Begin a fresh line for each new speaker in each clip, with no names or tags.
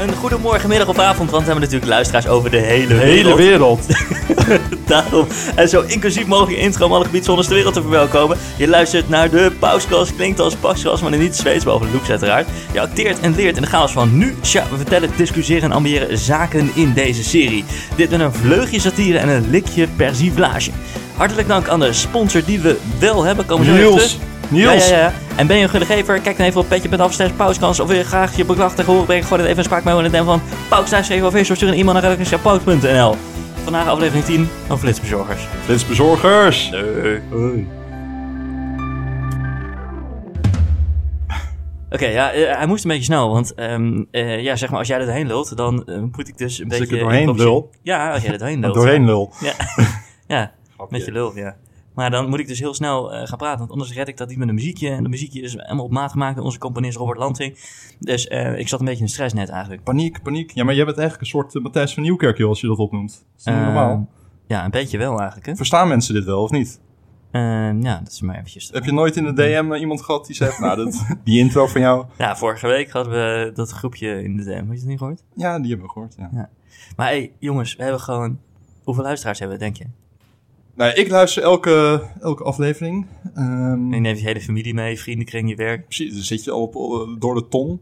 Een goede morgen, middag of avond, want we hebben natuurlijk luisteraars over de hele wereld.
Hele wereld.
Daarom en zo inclusief mogelijk intro om alle gebiedszonders ter wereld te verwelkomen. Je luistert naar de Pauskast, klinkt als Pauskast, maar dan niet Zweeds, behalve Lux uiteraard. Je acteert en leert in de chaos van nu. Tja, we vertellen, discussiëren en ambiëren zaken in deze serie. Dit met een vleugje satire en een likje persiflage. Hartelijk dank aan de sponsor die we wel hebben. Komen we zo even
Niels.
terug.
Niels.
Ja, ja, ja. En ben je een gunnegever? Kijk dan even op petje.af slash pauskans. Of wil je graag je beklag tegen horen brengen? Gooi dan even een spraakmail in het DM van pauskans even of stuur een e-mail naar redactionsjapout.nl. Vandaag aflevering 10 van Flitsbezorgers.
Flitsbezorgers.
Oké, ja, eh, hij moest een beetje snel, want ehm, eh, ja, zeg maar, als jij er doorheen lult, dan eh, moet ik dus een
Als ik
beetje...
er doorheen
improviseren.
lul?
Ja, als jij er doorheen lult.
Doorheen lul.
Ja, ja met je lul, ja. Maar dan moet ik dus heel snel eh, gaan praten, want anders red ik dat niet met een muziekje. En de muziekje is helemaal op maat gemaakt door onze componist Robert Lanting. Dus eh, ik zat een beetje in de stress net eigenlijk.
Paniek, paniek. Ja, maar jij bent eigenlijk een soort eh, Matthijs van Nieuwkerk, joh, als je dat opnoemt. Dat is niet
Eh,
normaal.
Ja, een beetje wel eigenlijk, hè.
Verstaan mensen dit wel, of niet?
Eh, ja, dat is maar eventjes...
Heb je nooit in de DM eh, iemand gehad die zegt, nou, dat, die intro van jou...
Ja, vorige week hadden we dat groepje in de DM. Heb je het niet gehoord?
Ja, die hebben we gehoord, ja.
Maar hé, jongens, we hebben gewoon... Hoeveel luisteraars hebben we, denk je?
Nou, ik luister elke, elke aflevering. Ehm,
Je neemt je hele familie mee, vriendenkring, je werk.
Precies, dan zit je al op, eh, door de ton.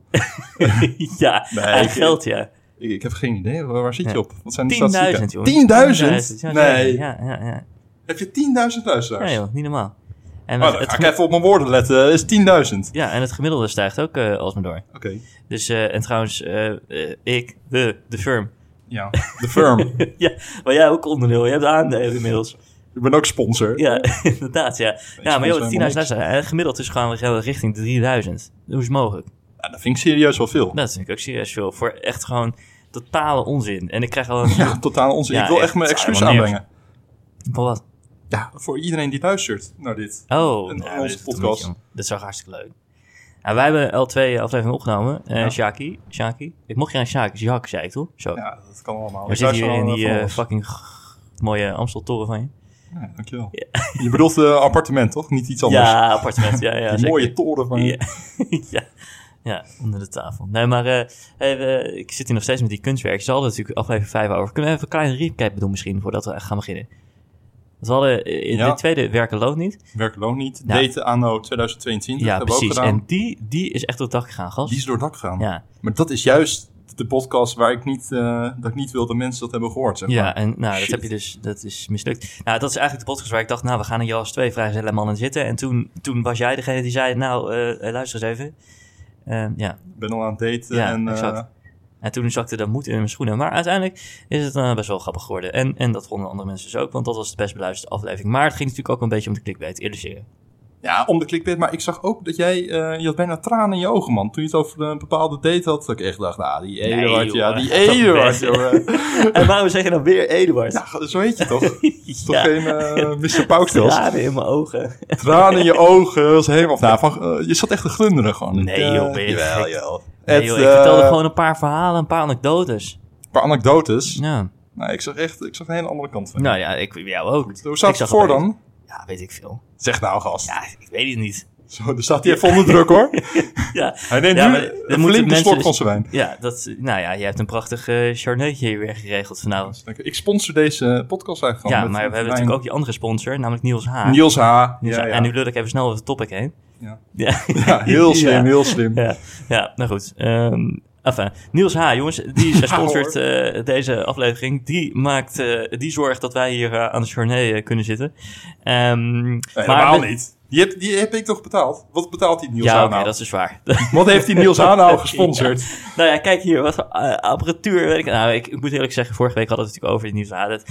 ja,
Nee,
en
ik-
geld, ja. 10.000,
Ik, ik heb geen idee, waar, waar zit je
Ja.
op? Wat zijn de statistieken?
jongens.
10.000?
10.000? Ja,
nee.
Ja, ja, ja.
Heb je 10.000 luisteraars?
Ja, joh, niet normaal. En
Oh,
het,
dan
het
ga ik
gemi-
even op mijn woorden letten. Dat is 10.000.
ja, en het gemiddelde stijgt ook eh alsmaar door.
Oké.
Dus, eh, en trouwens, eh, eh, ik, de, de firm.
Ja. De firm.
ja, maar jij ook onderdeel. Je hebt aandelen inmiddels.
ik ben ook sponsor.
Ja, inderdaad, ja. Ja, maar
sponsor
joh, 10.000
helemaal niks.
luisteraars. En gemiddeld is gewoon wel richting de 3.000. Hoe is het mogelijk?
Ja, dat vind ik serieus wel veel.
Dat vind ik ook serieus veel. Voor echt gewoon totale onzin. En ik krijg al een...
Ja, totaal onzin.
Ja,
ik wil echt
echt,
mijn
het is
excuus
helemaal niks.
aanbrengen.
Voor wat?
Ja, voor iedereen die luistert naar dit.
Oh,
Een-
nou,
onze
dat is toch
podcast.
een beetje- Dat is toch hartstikke leuk. Nou, wij hebben al twee afleveringen opgenomen. Eh
Ja.
Shaki, Shaki. Ik mocht je aan Shaki, Jacques zei ik toch? Zo.
Ja, dat kan allemaal.
we
Ik
zitten
luister
hier in
al,
die
eh, van
eh,
alles.
fucking g- mooie Amsteltoren van je.
Ja, dankjewel. Je bedoelt eh, appartement, toch? Niet iets anders.
Ja, appartement. Ja, ja,
die
zeker.
mooie toren van...
Ja. ja. ja, onder de tafel. Nee, maar eh, hey, we- ik zit hier nog steeds met die kunstwerkjes. Ze hadden natuurlijk aflevering 5 over. Kunnen we even een kleine recap doen misschien, voordat we echt gaan beginnen? Want we hadden eh, in
Ja.
de tweede werken loont niet.
Werkloon niet.
Ja.
Daten anno 2022.
Ja,
hebben we ook
precies.
gedaan.
En die, die is echt door het dak gegaan, gast.
Die is door het dak gegaan.
Ja,
Maar dat is juist de podcast waar ik niet, eh, dat ik niet wil dat mensen dat hebben gehoord. Zeg maar.
ja en nou, dat
Shit.
heb je dus, dat is mislukt. Nou, dat is eigenlijk de podcast waar ik dacht, nou, we gaan een Jas 2 vrijgezellen mannen zitten. En toen, toen was jij degene die zei, nou, eh, eh, luister eens even. Eh, ja,
Ik ben al aan het daten.
Ja,
en, eh,
exact. En toen zakte dat moed in mijn schoenen. Maar uiteindelijk is het eh, best wel grappig geworden. En, en dat vonden andere mensen dus ook, want dat was de best beluisterde aflevering. Maar het ging natuurlijk ook een beetje om de clickbait, eerder zeggen.
ja, om de clickbait. Maar ik zag ook dat jij, eh, je had bijna tranen in je ogen, man. Toen je het over een bepaalde date had, dat ik echt dacht, nou, die
Nee,
Eduard,
joh,
ja, die
gaat toch
Eduard,
weg.
jongen.
En waarom zeg je dan weer Eduard? Ja,
Ja, zo heet je toch? Dat is toch
Ja.
geen eh, Mr. Pauwstels?
tranen in mijn ogen.
Tranen in je ogen, dat was helemaal... Nou, van, eh, je zat echt te glunderen gewoon.
Nee,
Eh,
joh, ben je
jawel,
gek?
joh.
Nee,
Het,
joh, ik
eh,
vertelde gewoon een paar verhalen, een paar anekdotes.
Een paar anekdotes.
Ja.
Nou, ik zag echt ik zag een hele andere kant van je.
Nou ja, ik, jou ook.
Hoe
Ik
staat
zag
het voor
opeens-
dan?
Ja, weet ik veel.
Zeg nou, gast.
Ja, ik weet het niet.
Zo, dan staat hij even onder druk, hoor.
Ja,
Hij neemt
Ja,
nu
maar dan
een
moeten
flinke
mensen
slok
dus-
van zijn wijn.
ja, dat, nou ja, je hebt een prachtig eh charneutje hier weer geregeld vanavond.
Ik sponsor deze podcast eigenlijk gewoon
Ja,
Oh,
maar we
met- met
hebben
wijn.
natuurlijk ook die andere sponsor, namelijk Niels H.
Niels H. Ja,
Niels
ja.
H. Ah. En nu lul ik even snel over het topic heen.
Ja.
ja.
Ja, heel slim,
Ja.
heel slim.
Ja, ja nou goed. Ehm enfin, Niels H., jongens, die is- sponsort
hoor.
eh, deze aflevering. Die, maakt, eh, die zorgt dat wij hier eh, aan de journée eh, kunnen zitten. Ehm,
Nee, helemaal
we-
niet. Die heb, die heb ik toch betaald? Wat betaalt die Niels
Ja,
H.
oké,
nou?
dat is waar.
Wat heeft die Niels H. nou gesponsord?
nou ja, kijk hier, wat voor eh, apparatuur. Weet ik. Nou, ik, ik moet eerlijk zeggen, vorige week hadden we het natuurlijk over die nieuws. aan. Dat,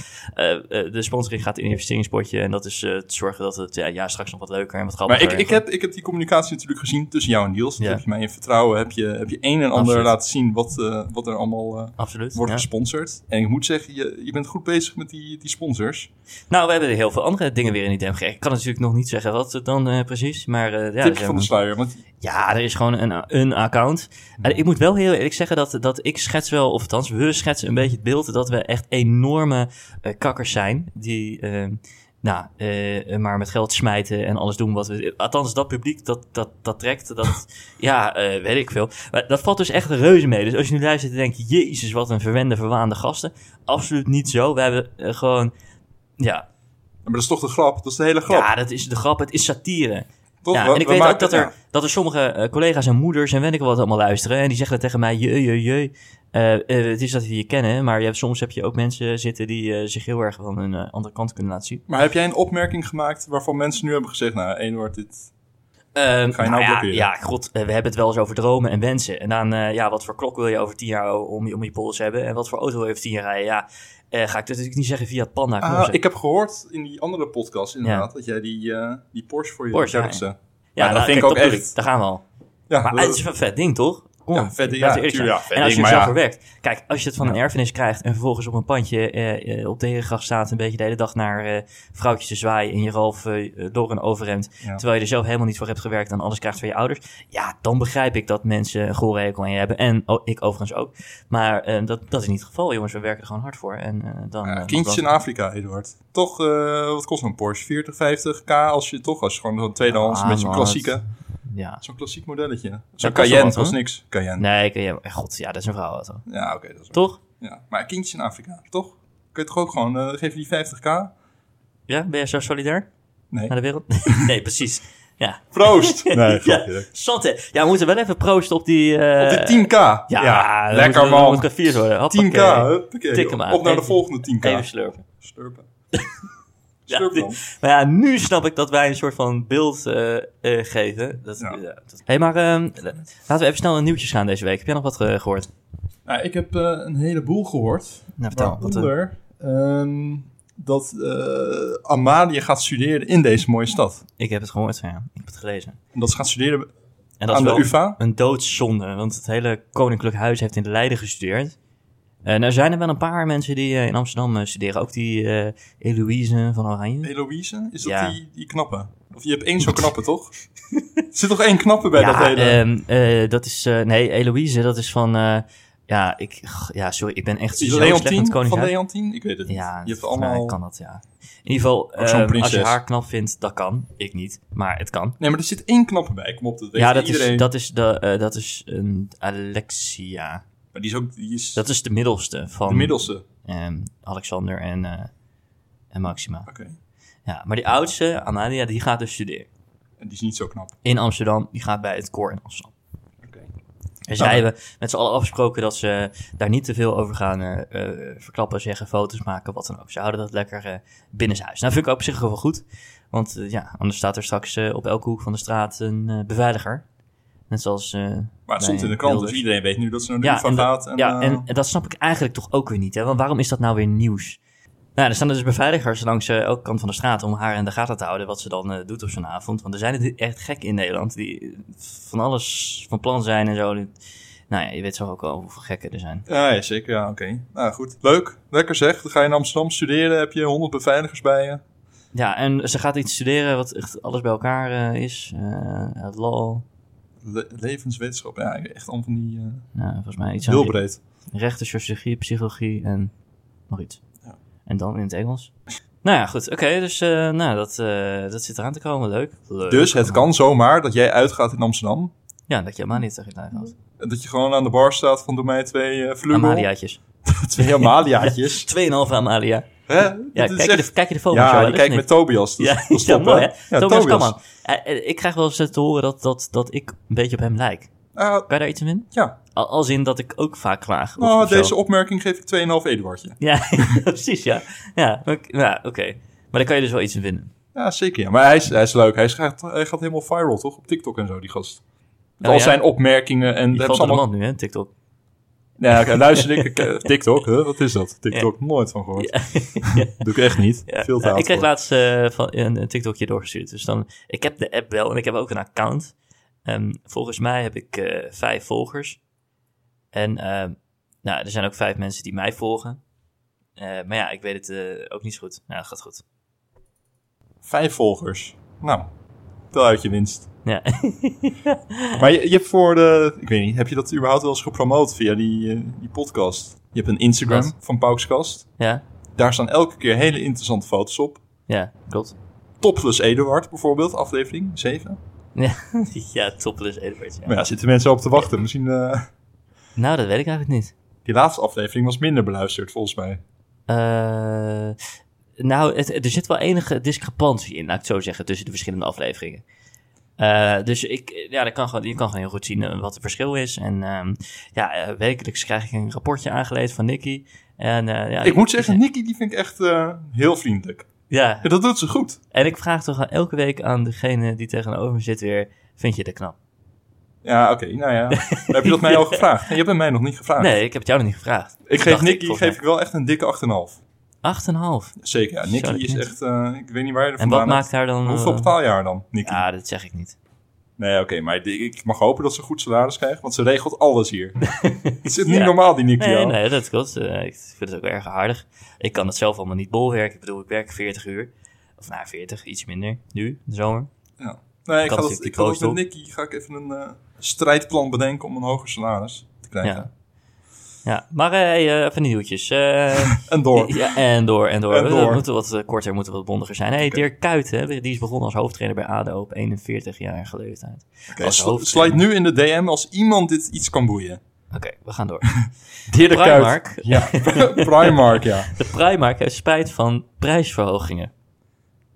eh, eh, de sponsoring gaat in een investeringspotje. En dat is eh, te zorgen dat het ja, ja, straks nog wat leuker en wat
Maar
grappiger
ik, ik, heb, ik heb die communicatie natuurlijk gezien tussen jou en Niels. Dat
Ja.
heb je mij in vertrouwen. Heb je, heb je een en ander
Absoluut.
laten zien wat, eh, wat er allemaal eh,
Absoluut.
wordt
ja.
gesponsord. En ik moet zeggen, je, je bent goed bezig met die, die sponsors.
Nou, we hebben er heel veel andere dingen weer in die DM gekregen. Ik kan natuurlijk nog niet zeggen wat het dan eh, precies. Maar eh, ja, er
Tipje
zijn
van de sluier. Want
Ja, er is gewoon een, een account. En ik moet wel heel eerlijk zeggen dat, dat ik schets wel, of althans, we schetsen een beetje het beeld dat we echt enorme eh, kakkers zijn. Die, eh, Nou, eh, maar met geld smijten en alles doen wat we. Althans, dat publiek dat, dat, dat trekt. Dat, ja, eh, weet ik veel. Maar dat valt dus echt reuze mee. Dus als je nu luistert en denkt: Jezus, wat een verwende, verwaande gasten. Absoluut niet zo. We hebben eh, gewoon. Ja,
Maar dat is toch de grap? Dat is de hele grap.
ja, dat is de grap. Het is satire.
toch?
ja,
We-
en ik
we
weet
maken-
ook dat er,
ja.
dat er sommige eh, collega's en moeders en weet ik wel wat allemaal luisteren. En die zeggen dan tegen mij, je, je, je. eh, eh, het is dat we je kennen, maar je hebt, soms heb je ook mensen zitten die eh, zich heel erg van een eh, andere kant kunnen laten zien.
Maar heb jij een opmerking gemaakt waarvan mensen nu hebben gezegd, nou, één wordt dit...
Ehm,
nou
ja,
blokkeren?
ja, god, eh, we hebben het wel eens over dromen en wensen. En dan, eh, ja, wat voor klok wil je over tien jaar om je, om je pols hebben? En wat voor auto wil je over tien jaar rijden? Ja, eh, ga ik dat natuurlijk niet zeggen via het panda.
Ah, ik heb gehoord in die andere podcast inderdaad, dat jij die, eh, die Porsche voor je
Porsche,
hebt
ja.
gezet.
ja,
dat
nou,
vind ik
kijk,
ook
dat bedoel
echt.
Daar gaan we al.
Ja,
Maar
dat-
het is een vet ding, toch? Kom,
Ja, vet ding,
laten we
ja,
eerlijk zijn.
tuurlijk, ja, vet
en als je
ding,
het
maar
zelf
ja.
verwerkt. Kijk, als je het van een
Ja.
erfenis krijgt... en vervolgens op een pandje eh, eh, op de herengracht staat... een beetje de hele dag naar eh, vrouwtjes te zwaaien... en je ralf eh, door een overhemd...
Ja.
terwijl je er zelf helemaal niet voor hebt gewerkt... en alles krijgt van je ouders... ja, dan begrijp ik dat mensen een gore hekel aan je hebben. En oh, ik overigens ook. Maar eh, dat, dat is niet het geval, jongens. We werken er gewoon hard voor. En, eh, dan,
Ja,
eh,
kindjes
dan-
in Afrika, Eduard. Toch, eh, wat kost een Porsche? 40, 50k als je toch, als je gewoon zo'n tweedehands
Ah,
met zo'n
man,
klassieke,
Ja.
zo'n klassiek modelletje. Zo'n
kost wel
Cayenne
wat, hoor.
kost niks. Cayenne.
Nee, ik, ja, god, ja, dat is een vrouw. auto.
Ja, oké, dat is
Toch?
ja. Maar kindjes in Afrika, toch? Kun je toch ook gewoon, eh geef je die 50k?
Ja, ben jij zo solidair?
Nee.
Naar de wereld? nee, precies. Ja,
Proost!
ja, Santé. Ja, we moeten wel even proosten op die...
Op
eh,
de 10k. Ja,
Ja, dan moeten
lekker
we- dan Moet
man.
ik er vier worden.
10k,
Hoppakee.
huppakee.
Tik hem aan.
Op naar de
Even-
volgende 10k.
Even slurpen.
Slurpen.
Ja,
Slurp
dit-
dan.
Maar ja, nu snap ik dat wij een soort van beeld eh, eh, geven. Dat,
Ja.
ja, dat- hey, maar ehm, laten we even snel naar nieuwtjes gaan deze week. Heb jij nog wat eh, gehoord?
Nou, ik heb eh, een heleboel gehoord.
Nou, vertel. Wat, eh,
Waaronder ehm, dat eh Amalie gaat studeren in deze mooie stad.
ik heb het gehoord, ja. Ik heb het gelezen.
En dat ze gaat studeren
En dat
aan
is
de
wel
UvA.
een doodzonde, want het hele Koninklijk Huis heeft in Leiden gestudeerd. Eh nou zijn er wel een paar mensen die eh, in Amsterdam eh, studeren. Ook die eh Eloïse van Oranje.
Eloïse, is dat
Ja.
die, die knappe? Of je hebt één zo'n knappe, toch? Er zit toch één knappe bij dat hele...
ehm, eh, dat is... eh, nee, Eloïse, dat is van... eh, ja, ik... g- Ja, sorry, ik ben echt zo slecht met
10? Van
Koningshuis.
Leontien? Ik weet het niet.
ja,
je hebt
volgens mij
allemaal...
kan dat, ja. In ieder geval,
Ook zo'n
ehm, als je
prinses.
haar knap vindt, dat kan. Ik niet, maar het kan.
Nee, maar er zit één knappe bij. Kom op, dat weet
ja, dat
iedereen.
is, dat, is de, eh, dat is een Alexia.
Maar die is ook die is
Dat is de middelste van
de middelste. Oké.
ehm, Alexander en, eh, en Maxima. Ja, maar die oudste, Amalia, die gaat dus studeren.
En die is niet zo knap.
In Amsterdam, die gaat bij het koor in Amsterdam.
Oké.
En zij
Nou,
hebben met z'n allen afgesproken dat ze daar niet te veel over gaan eh, eh, verklappen, zeggen, foto's maken, wat dan ook. Ze houden dat lekker eh binnenshuis. Nou, vind ik op zich wel goed. Want eh, ja, anders staat er straks eh, op elke hoek van de straat een eh, beveiliger. Net zoals. eh,
Maar het stond
bij
in de krant,
Wilders.
dus iedereen weet nu dat ze naar de
Ja,
UvA
en dat-
gaat. En,
ja,
eh,
en, en dat snap ik eigenlijk toch ook weer niet. Hè? Want waarom is dat nou weer nieuws? Nou, er staan dus beveiligers langs eh, elke kant van de straat om haar in de gaten te houden wat ze dan eh, doet op zo'n avond. Want er zijn er echt gek in Nederland die eh, van alles van plan zijn en zo. Nou ja, je weet zelf ook wel hoeveel gekken er zijn.
Ja, ja, zeker. Ja, oké. Nou, goed. Leuk. Lekker zeg. Dan ga je in Amsterdam studeren. Heb je 100 beveiligers bij je.
Ja, en ze gaat iets studeren wat echt alles bij elkaar eh, is. Eh het law,
Le- levenswetenschap. Ja, echt allemaal van die... eh,
nou, volgens mij iets
heel
aan
breed.
rechten, sociologie, psychologie en nog iets.
Ja.
En dan in het Engels. Nou ja, goed. Oké, dus eh, nou, dat, eh, dat zit eraan te komen. Leuk. Leuk.
Dus het kan zomaar dat jij uitgaat in Amsterdam.
Ja, dat je Amalia tegen je lijf had.
En dat je gewoon aan de bar staat van doe mij twee eh vlugel.
Amaliaatjes.
Twee Amaliaatjes.
2,5 Amalia.
Hè?
Ja,
Dat
kijk,
is
je
echt-
de, kijk je de foto's
ja,
wel
die
eens,
kijkt
of
met Tobias. Dat,
niet?
dat
ja,
is
ja,
top,
mooi hè.
hè? Ja,
Tobias Kamman. Eh, eh, ik krijg wel eens te horen dat, dat, dat ik een beetje op hem lijk.
Ah,
Kan je daar iets in vinden?
ja,
Al- Als in dat ik ook vaak klaag. of-
nou,
of zo.
deze opmerking geef ik 2,5 Eduardje.
Ja, precies, ja. Ja, ok- ja oké. Maar daar kan je dus wel iets in vinden.
Ja, zeker. Ja. Maar hij is, hij is leuk. Hij, is, gaat- hij gaat helemaal viral, toch? Op TikTok en zo, die gast. Met
Oh,
al
ja?
zijn opmerkingen en
Die
hebben
valt
ze
op de
allemaal...
mand nu, hè, TikTok.
Ja, oké, luister ik. ik, eh, TikTok, hè? wat is dat? TikTok, nooit van gehoord. Doe ik echt niet.
Ja,
Veel te
ja,
haat
ik kreeg
voor.
laatst eh, van, een, een TikTokje doorgestuurd. Dus dan, ik heb de app wel en ik heb ook een account. Ehm, volgens mij heb ik eh, vijf volgers. En ehm, nou, er zijn ook vijf mensen die mij volgen. Eh, maar ja, ik weet het eh, ook niet zo goed. Nou, dat gaat goed.
Vijf volgers. Nou, tel uit je winst.
Ja.
Maar je, je hebt voor de... Ik weet niet, heb je dat überhaupt wel eens gepromoot via die, eh, die podcast? Je hebt een Instagram
Wat?
van Paukskast.
ja,
Daar staan elke keer hele interessante foto's op.
Ja, klopt.
Topless Eduard bijvoorbeeld, aflevering 7.
ja, topless Edward. Ja.
Maar ja, zitten mensen op te wachten. Misschien, eh,
Nou, dat weet ik eigenlijk niet.
die laatste aflevering was minder beluisterd volgens mij.
Eh, nou, het, er zit wel enige discrepantie in, laat ik het zo zeggen, tussen de verschillende afleveringen. Eh, dus ik, ja, dat kan gewoon, je kan gewoon heel goed zien eh, wat het verschil is. En ehm, ja, eh, wekelijks krijg ik een rapportje aangeleerd van Nicky. En, eh, ja,
Ik moet zeggen, Nicky die vind ik echt eh, heel vriendelijk.
Ja,
Ja, dat doet ze goed.
en ik vraag toch elke week aan degene die tegenover me zit weer, vind je dat knap?
Ja, oké, nou ja. Heb je dat mij al gevraagd? Nee, je hebt het mij nog niet gevraagd.
Nee, ik heb het jou nog niet gevraagd.
ik geef
Dacht
Nicky
volgens
geef ik wel echt een dikke 8,5.
mij. Acht en een half.
Zeker, ja.
Zo,
Nicky
dat
is
klinkt.
echt... eh, ik weet niet waar je er
En wat
vandaan
maakt haar dan...
hebt. Hoeveel
eh,
betaal je haar dan, Nicky?
Ja, dat zeg ik niet.
Nee, oké, maar die- ik mag hopen dat ze goed salaris krijgt, want ze regelt alles hier. Het zit niet
Ja.
normaal, die Nicky
Nee,
al.
nee, dat klopt. Eh, ik vind het ook erg aardig. Ik kan het zelf allemaal niet bolwerken. Ik bedoel, ik werk 40 uur. Of nou, 40, iets minder. Nu, in de zomer.
Nee, ik
Kan
ga, dat,
natuurlijk
ik ga dat
die
met Nicky ga ik even een eh, strijdplan bedenken om een hoger salaris te krijgen.
Ja. Ja, maar eh, hey, eh, even nieuwtjes. Eh,
En door.
ja, en door, en door.
En door.
We moeten wat eh, korter, moeten wat bondiger zijn. hey,
Oké.
Dirk Kuyt, hè, die is begonnen als hoofdtrainer bij ADO op 41-jarige leeftijd.
Oké,
als
sl-
hoofd-
Slijt nu in de DM als iemand dit iets kan boeien.
Oké, we gaan door.
Dirk
Primark.
Ja, Primark, ja.
De Primark heeft spijt van prijsverhogingen.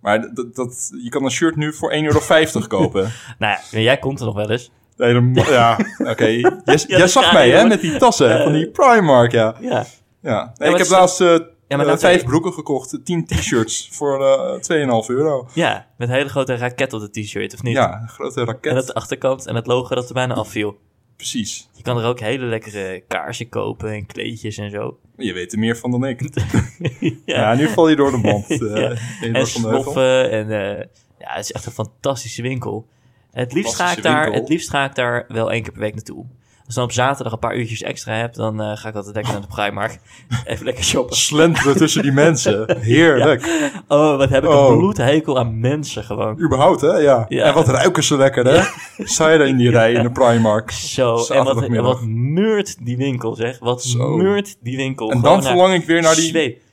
Maar d- dat, dat, je kan een shirt nu voor 1,50 euro kopen.
Nou ja, jij komt er nog wel eens.
Nee, dan, mo- ja, oké. Jij, jij
dat
zag
ga
mij,
je,
hè,
hoor.
met die tassen hè, van die Primark, ja.
Ja,
ja.
maar
Nee, ik
het
heb
is-
laatst eh,
Ja, maar
eh,
dat-
vijf broeken gekocht, 10 t-shirts voor eh 2,5 euro.
ja met een hele grote raket op de t-shirt, of niet?
Ja, een grote raket,
En dat de achterkant en het logo dat er bijna afviel.
precies.
Je kan er ook hele lekkere kaarsen kopen en kleedjes en zo.
Je weet er meer van dan ik.
ja.
Ja, nu val je door de mand. eh,
Ja. en
Eduard van de Heuvel.
sloffen en eh, ja, het is echt een fantastische winkel. Het liefst, ga ik
Fantastische
daar,
winkel.
het liefst ga ik daar wel één keer per week naartoe. Als ik dan op zaterdag een paar uurtjes extra heb, dan eh, ga ik altijd lekker naar de Primark. Even lekker shoppen.
Slenteren tussen die mensen. Heerlijk.
Oh, wat heb ik
Oh.
een bloedhekel aan mensen gewoon.
Überhaupt, hè? Ja.
Ja.
En wat ruiken ze lekker, hè? Sta je daar in die rij in de Primark.
Zo, en wat, en
Zaterdagmiddag.
wat meurt die winkel zeg. Wat
Zo.
meurt die winkel.
En
Gewoon
dan verlang ik weer naar die
zweep.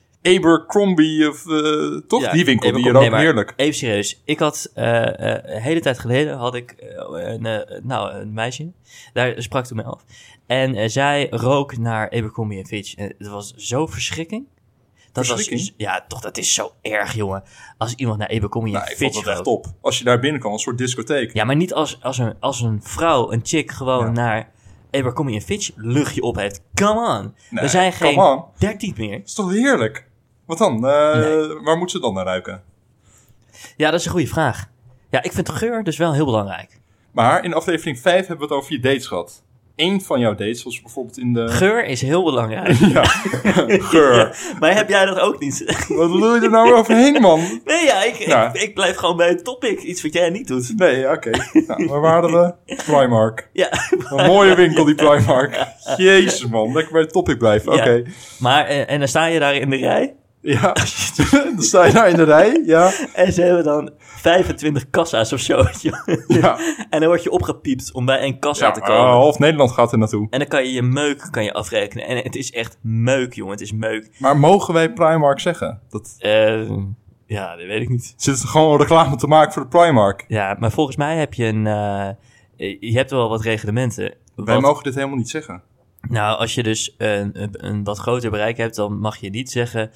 Abercrombie of... eh, toch?
Ja,
die winkel, die
Abercrombie,
hier ook
nee, maar-
heerlijk.
Even serieus. Ik had eh, eh, een hele tijd geleden had ik eh, een, eh, nou, een meisje. Daar sprak toen mee af. En eh, zij rook naar Abercrombie en Fitch. En het was zo verschrikking. Dat
Verschrikking?
was ja, toch dat is zo erg, jongen. Als iemand naar Abercrombie
Nou,
en
ik vond dat
Fitch
echt
rookt.
top. Als je daar binnen kan, een soort discotheek.
Ja, maar niet als, als, een, als een vrouw, een chick, gewoon
Ja.
naar Abercrombie en Fitch luchtje op heeft. Come on.
Nee,
We zijn
come
geen
on.
13 meer.
Dat is toch heerlijk? Wat dan? Eh,
Nee.
Waar moet ze dan naar ruiken?
Ja, dat is een goede vraag. Ja, ik vind geur dus wel heel belangrijk.
Maar in aflevering 5 hebben we het over je dates gehad. Eén van jouw dates was bijvoorbeeld in de...
Geur is heel belangrijk.
Ja, geur.
Ja, maar heb jij dat ook niet?
Wat lul je er nou overheen, man?
Nee, ja, ik,
Ja.
Ik, ik blijf gewoon bij het topic. Iets wat jij niet doet.
Nee, ja, oké. Nou, waar waren we? Primark.
Ja,
Een mooie winkel, die Primark. Jezus, man. Lekker bij het topic blijven.
Ja.
Oké.
maar eh, en dan sta je daar in de rij
Ja. dan sta je nou in de rij. Ja.
en ze hebben dan 25 kassa's of zo. weet je.
Ja.
En dan word je opgepiept om bij één kassa
ja
te
eh,
komen.
half Nederland gaat er naartoe.
En dan kan je je meuk kan je afrekenen. En het is echt meuk, jongen. Het is meuk.
Maar mogen wij Primark zeggen? Dat
Eh, ja, dat weet ik niet.
zit er gewoon reclame te maken voor de Primark.
Ja, maar volgens mij heb je een... eh, je hebt wel wat reglementen.
Wij
Want-
mogen dit helemaal niet zeggen.
Nou, als je dus een, een, een wat groter bereik hebt, dan mag je niet zeggen...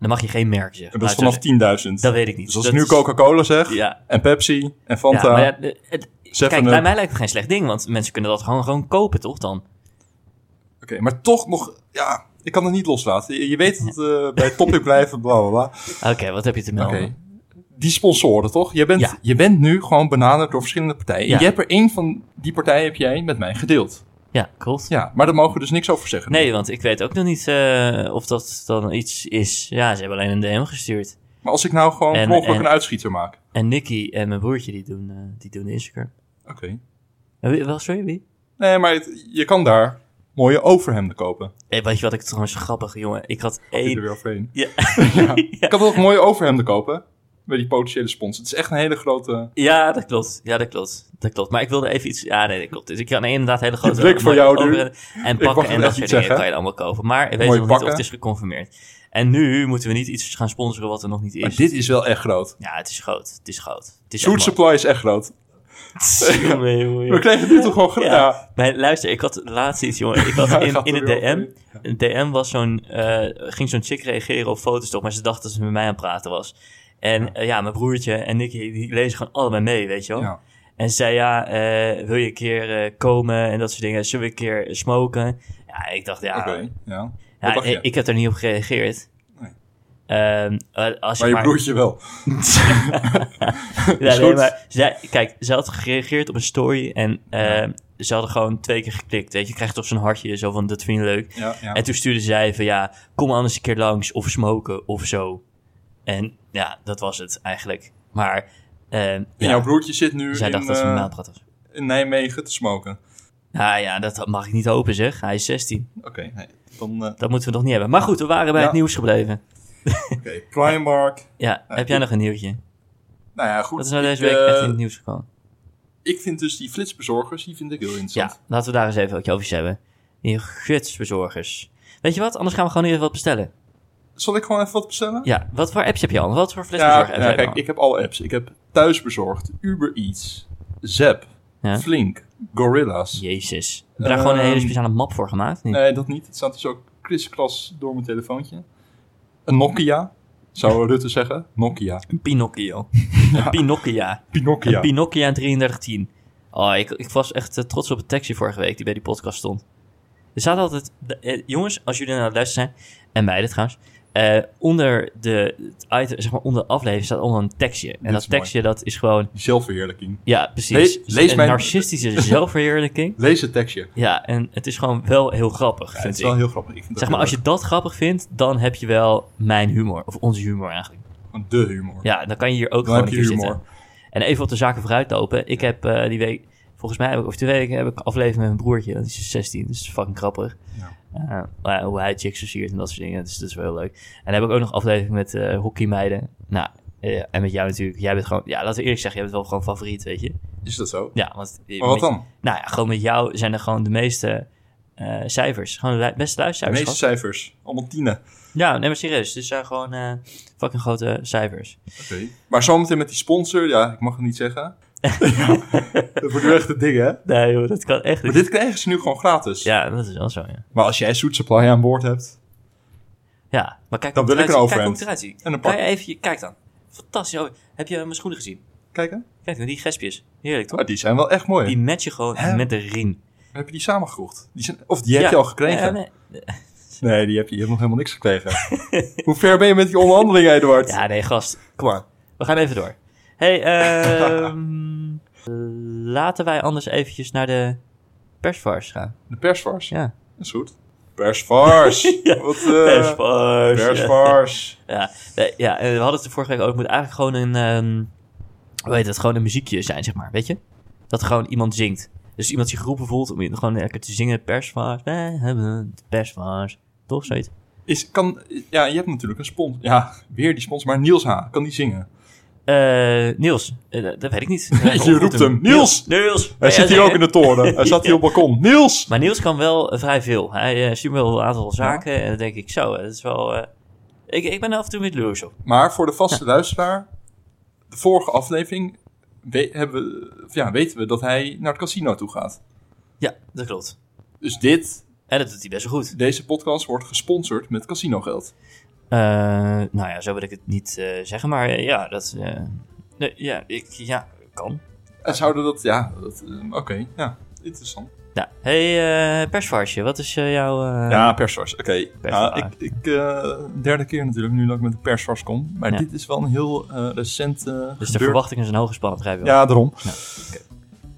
Dan mag je geen merk zeggen.
En dat is
Laat ik
vanaf 10.000.
zo zeggen. Nou, Dat weet ik niet.
Dus als
Dat
ik nu
is-
Coca-Cola zeg,
Ja,
en Pepsi, en
ja,
Fanta,
maar ja, de- het- kijk,
7-Up.
bij mij lijkt het geen slecht ding, want mensen kunnen dat gewoon, gewoon kopen, toch dan?
Oké, maar toch nog... Ja, ik kan het niet loslaten. Je, je weet dat eh, bij het topic blijven, bla, bla, bla.
Oké, wat heb je te melden?
Oké. Nou, Die sponsoren, toch? Je bent,
Ja.
je bent nu gewoon benaderd door verschillende partijen.
Ja.
Je hebt er één van die partijen heb jij met mij gedeeld.
Ja, klopt.
Ja, maar daar mogen we dus niks over zeggen.
Nee, want ik weet ook nog niet eh, of dat dan iets is. Ja, ze hebben alleen een DM gestuurd.
Maar als ik nou gewoon
En-
per ongeluk
en-
een uitschieter maak.
En Nicky en mijn broertje, die doen, eh, die doen Instagram.
Oké.
Eh, wie- Wel, sorry, wie?
Nee, maar het- je kan daar mooie overhemden kopen.
Eh, weet je wat ik trouwens grappig, jongen? Ik had
Hey.
één...
Er weer overheen.
Ja.
Ja. Ik kan toch mooie overhemden kopen? bij die potentiële sponsor. Het is echt een hele grote...
Ja, dat klopt. Ja, dat klopt. Dat klopt. Maar ik wilde even iets... Ja, nee, dat klopt. Dus ik kan inderdaad hele grote...
blik voor
mooie
jou nu.
overheden En
mag
pakken en
het
dat
echt
soort
niet
dingen
zeggen.
kan je allemaal kopen. Maar ik weet
Mooie
nog niet of
pakken.
het is geconfirmeerd. En nu moeten we niet iets gaan sponsoren wat er nog niet
Maar
is.
dit is wel echt groot.
Ja, het is groot. Het is groot. Het is
Food
echt
Supply is echt groot.
mooi. Jongen, jongen,
We
jongen.
kregen nu toch gewoon... gro-
Ja.
ja.
Maar luister, ik had laatst iets, jongen. Ik had
Ja,
in,
gaat
in
er
een
weer
DM.
over.
Een DM was zo'n, eh, ging zo'n chick reageren op foto's toch, maar ze dacht dat ze met mij aan het praten was. En eh, ja, mijn broertje en Nicky, die lezen gewoon allebei mee, weet je wel.
Ja.
En ze zei, ja, eh, wil je een keer eh, komen en dat soort dingen. Zullen we een keer smoken? Ja, ik dacht, ja,
Oké, ja. Wat
ja
dacht
ik,
je?
ik heb er niet op gereageerd.
Nee.
Ehm, eh, als je
Maar je broertje wel.
Ja,
Is
nee,
goed.
maar zij, kijk, ze had gereageerd op een story en eh, ze hadden gewoon twee keer geklikt. Weet je, je krijgt toch zo'n hartje zo van dat vind je leuk.
Ja, ja.
En toen stuurde zij van ja, kom anders een keer langs of smoken of zo. En ja, dat was het eigenlijk. Maar eh,
En
ja,
jouw broertje zit nu
zij
in,
dacht dat ze
eh,
met mij aan het praten was.
in Nijmegen te smoken.
Nou ja, dat mag ik niet hopen zeg. Hij is 16.
Oké, nee, dan... eh
Dat moeten we nog niet hebben. Maar goed, we waren bij
Ja.
het nieuws gebleven.
Oké, Primark.
Ja, heb jij nog een nieuwtje?
Nou ja, goed.
Wat is nou deze
ik,
week
eh,
echt in het nieuws gekomen?
Ik vind dus die flitsbezorgers, die vind ik heel interessant.
Ja, laten we daar eens even wat over hebben. Die gutsbezorgers. Weet je wat? Anders gaan we gewoon even wat bestellen.
Zal ik gewoon even wat bestellen?
Ja, wat voor apps heb je al? Wat voor flesbezorger
ja, kijk, ik heb alle apps. Ik heb Thuisbezorgd, Uber Eats, Zap,
Ja.
Flink, Gorillas.
Jezus. Heb je daar gewoon een hele
Ehm,
speciale map voor gemaakt? Niet?
Nee, dat niet. Het staat dus ook kriskras door mijn telefoontje. Een Nokia, zou Rutte zeggen. Nokia.
Een Pinocchio. Een Pinocchia. Een
Pinocchia.
Pinocchia 3310. Oh, ik, ik was echt eh, trots op het tekstje vorige week die bij die podcast stond. Er staat altijd... de- eh, jongens, als jullie naar het luisteren zijn, en meiden trouwens... eh, onder de het item, zeg maar onder de aflevering staat allemaal een tekstje. En
Dit
dat
is mooi.
tekstje, dat is gewoon
Zelfverheerlijking.
Ja, precies.
Lees- lees
een
mijn-
narcistische zelfverheerlijking.
Lees het tekstje.
Ja, en het is gewoon wel heel grappig,
Ja, het
vind
is
ik.
wel heel grappig. Ik vind het
Zeg
ook
maar, als je dat grappig vindt, dan heb je wel mijn humor. Of onze humor eigenlijk.
heel leuk. Gewoon de humor.
Ja, dan kan je hier ook
Dan
gewoon
heb
een
je
keer
humor.
zitten. En even op de zaken vooruit lopen. Ik heb eh, die week, volgens mij, heb ik- of twee weken, heb ik een aflevering met mijn broertje. Dat is 16, dus dat is fucking grappig.
Ja.
Eh, maar hoe hij chicks versiert en dat soort dingen. Dus dat is wel heel leuk. En dan heb ik ook nog een aflevering met eh, hockeymeiden. Nou, eh, en met jou natuurlijk. Jij bent gewoon, ja, laten we eerlijk zeggen, jij bent wel gewoon favoriet, weet je.
Is dat zo?
Ja, want...
Maar Oh, wat dan?
Nou ja, gewoon met jou zijn er gewoon de meeste eh, cijfers. Gewoon de lu- beste
De
luisteraars.
meeste
gehad.
cijfers. Allemaal tienen.
Ja, nee, maar serieus. Dit zijn gewoon eh, fucking grote cijfers.
Oké. Maar zometeen met die sponsor, ja, ik mag het niet zeggen. ja, dat wordt nu echt het ding, hè?
Nee joh, dat kan echt
Maar dit krijgen ze nu gewoon gratis.
Ja, dat is wel zo, ja.
Maar als jij Soet Supply aan boord hebt...
Ja, maar kijk
Dan
hoe
wil ik
het eruit
een
ziet. Kijk hoe
overhand.
het eruit ziet.
En een
kan
pak.
je even, je- kijk dan. Fantastisch. Oh, heb je mijn schoenen gezien?
Kijk, hè?
Kijk naar die gespjes. Heerlijk, toch?
Ah, die zijn wel echt mooi.
Die matchen gewoon
Hè?
met de riem.
Heb je die samengekocht? Die zijn... Of die heb je al gekregen?
Ja,
nee.
nee.
die heb je, je hebt nog helemaal niks gekregen. Hoe ver ben je met die onderhandeling, Eduard?
ja, nee, gast.
Kom maar.
We gaan even door. hey, ehm, laten wij anders eventjes naar de persvars gaan.
De persvars.
Ja.
Dat is goed. Persvars.
Ja,
Wat, eh,
Persvars.
Persvars.
Ja, nee, ja, en we hadden het er vorige week ook. Het moet eigenlijk gewoon een, ehm hoe heet dat, gewoon een muziekje zijn, zeg maar. Weet je? Dat gewoon iemand zingt. Dus iemand zich geroepen voelt om gewoon lekker te zingen. Persvars, wij hebben het persvars. Toch, zoiets?
Is, kan, ja, je hebt natuurlijk een sponsor. Ja, weer die sponsor. Maar Niels H. Kan die zingen?
Eh, Niels, eh, dat- dat weet ik niet.
Je roept hem. Niels!
Niels!
Hij
Ja,
zit hier
zeker.
ook in de toren. Hij zat hier op het balkon. Niels!
Maar Niels kan wel eh, vrij veel. Hij eh, stuurt me wel een aantal zaken. En dan denk ik, zo, eh, dat is wel... eh, ik, ik ben er af en toe met jaloers op.
Maar voor de vaste luisteraar, de vorige aflevering we- hebben we, of ja, weten we dat hij naar het casino toe gaat.
Ja, dat klopt.
Dus dit,
En dat doet hij best wel goed.
deze podcast wordt gesponsord met casinogeld.
Eh, nou ja, zo wil ik het niet eh, zeggen, maar eh, ja, dat. eh, nee, ja, ik ja, kan.
En zouden dat, ja, dat, eh, oké, ja, interessant.
Nou, hey, eh persvarsje, wat is eh, jouw. eh,
ja, persvars, oké.
persvars.
Ja, ik, ik eh, derde keer natuurlijk, nu dat ik met de persvars kom. Maar
Ja.
dit is wel een heel eh, recent eh
Dus de
gebeur-
verwachtingen zijn hoog gespannen, begrijp je wel.
Ja, daarom.
Ja,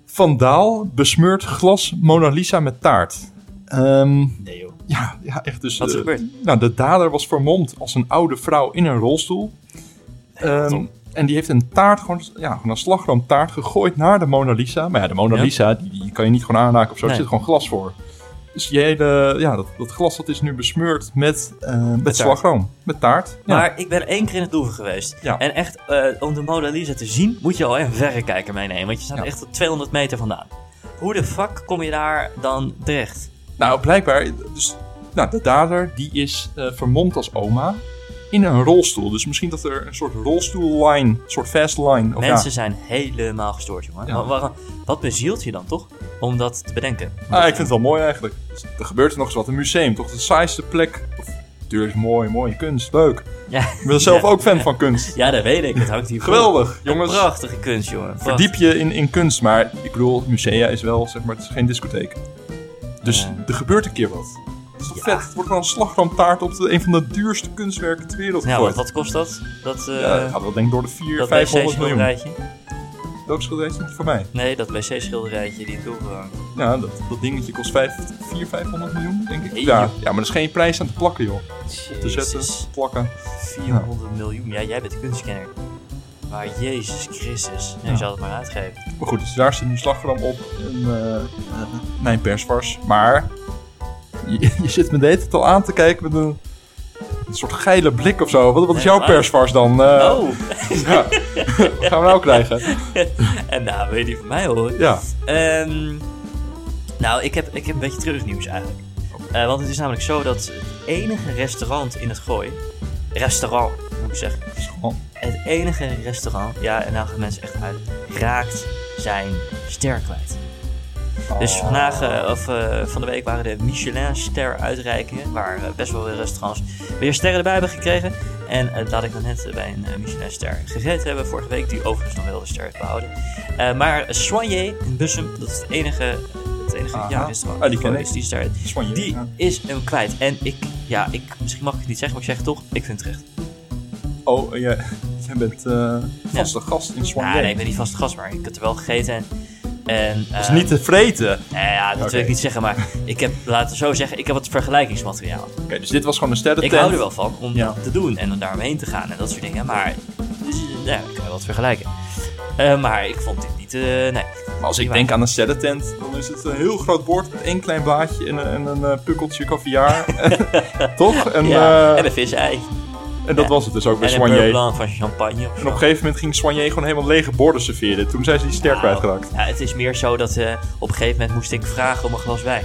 Vandaal besmeurt glas Mona Lisa met taart. Ehm
Nee, joh.
Ja, ja, echt. Dus,
Wat is er
eh,
gebeurd?
Nou, de dader was vermomd als een oude vrouw in een rolstoel. Ehm,
dom.
en die heeft een taart, gewoon, ja, gewoon een slagroomtaart gegooid naar de Mona Lisa. Maar ja, de Mona
Ja.
Lisa, die, die kan je niet gewoon aanraken of zo.
Nee.
Er zit gewoon glas voor. Dus die hele, ja, dat, dat glas dat is nu besmeurd met, eh, met, slagroom. Met taart. Ja.
Maar ik ben één keer in het Louvre geweest.
Ja.
En echt, eh, om de Mona Lisa te zien, moet je al een verrekijker meenemen. Want je staat
Ja.
echt tot 200 meter vandaan. Hoe de fuck kom je daar dan terecht?
Nou, blijkbaar, dus, nou, de dader die is eh, vermomd als oma in een rolstoel. Dus misschien dat er een soort rolstoel-line, een soort fast line. Of
Mensen
ja.
zijn helemaal gestoord, jongen.
Ja.
Wa- waarom- wat bezielt je dan toch om dat te bedenken?
Ah, ik vind het wel mooi eigenlijk. Dus er gebeurt er nog eens wat. Een museum, toch de saaiste plek. Of, natuurlijk is mooi, mooie kunst, leuk.
Ja,
Ik ben zelf
Ja.
ook fan van kunst.
ja dat weet ik. Het hangt hier vol.
Geweldig,
Een
jongens.
Prachtige kunst, jongen. Pracht-
Verdiep je in, in kunst, maar ik bedoel, musea is wel, zeg maar, het is geen discotheek. Dus
Ja.
er gebeurt een keer wat. Dat is toch
Ja.
vet? Het wordt wel een slagroomtaart op de, een van de duurste kunstwerken ter wereld
Ja,
gegooid.
want Nou, wat kost dat? Dat, eh
Ja, dat gaat wel denk ik door de 400,
dat
500 miljoen.
wc-schilderijtje?
Welk schilderij is dat voor mij?
Nee, dat wc-schilderijtje die eh, in het Louvre hangt.
Ja, dat, dat dingetje kost 5, 4, 500 miljoen, denk ik.
Nee,
Ja.
joh.
ja, maar er is geen prijs aan te plakken, joh. Te
Jezus.
zetten, plakken.
400 miljoen. Ja, jij bent kunstkenner. Maar Jezus Christus. Nee,
Ja.
zou het maar uitgeven.
Maar goed, dus daar zit nu slagroom op. En, eh, eh, mijn persvars. Maar je, je zit me de hele tijd al aan te kijken met een, een soort geile blik of zo. Wat, wat is
Ja,
jouw
maar-
persvars dan? Eh,
oh!
ja. wat gaan we nou krijgen?
en nou, weet je die van mij hoor.
Ja.
Ehm, nou, ik heb, ik heb een beetje treurig nieuws eigenlijk.
Oh.
Eh, want het is namelijk zo dat het enige restaurant in het gooi. Restaurant, moet ik zeggen.
Oh,
Het enige restaurant, ja, en nou gaan mensen echt uit. Raakt zijn ster kwijt. Dus vandaag, eh, of eh, van de week, waren de Michelin-ster-uitreikingen. Waar eh, best wel weer restaurants weer sterren erbij hebben gekregen. En eh, laat ik dan net eh, bij een eh, Michelin-ster gegeten hebben vorige week. Die overigens nog wel de ster heeft behouden. Eh, maar Soigné in Bussum, dat is het enige, het enige
Aha.
ja, restaurant.
Ah, die ken ik.
is die ster.
Soigné,
Die
ja.
is hem kwijt. En ik, ja, ik, misschien mag ik het niet zeggen, maar ik zeg het toch. Ik vind het terecht.
Oh, eh, jij, jij bent eh vaste gast in Swan
Ja, nee, ik ben niet vast gast, maar ik had er wel gegeten. En, en,
Dat
eh,
is Dus niet te vreten. Oké,
Nou ja, dat wil ik
Oké.
niet zeggen, maar ik heb, laten we zo zeggen, ik heb wat vergelijkingsmateriaal.
dus dit was gewoon een
Ik
sterrentent.
hou er wel van om
Ja.
dat te doen en om daaromheen te gaan en dat soort dingen, maar dus, ja, ik kan je wat vergelijken. Eh, maar ik vond dit niet, eh, nee.
Maar als ik
Prima.
denk aan een sterrentent, dan is het een heel groot bord met één klein blaadje en een, en een eh, pukkeltje caviar. Toch? En,
ja,
eh,
en een visei.
en dat
ja.
was het dus ook bij
En een beurre
Soigné.
blanc van champagne of
En op een gegeven moment ging Soigné gewoon helemaal lege borden serveren. Toen zijn ze die ster kwijtgeraakt.
Nou, Ja, het is meer zo dat eh, op een gegeven moment moest ik vragen om een glas wijn.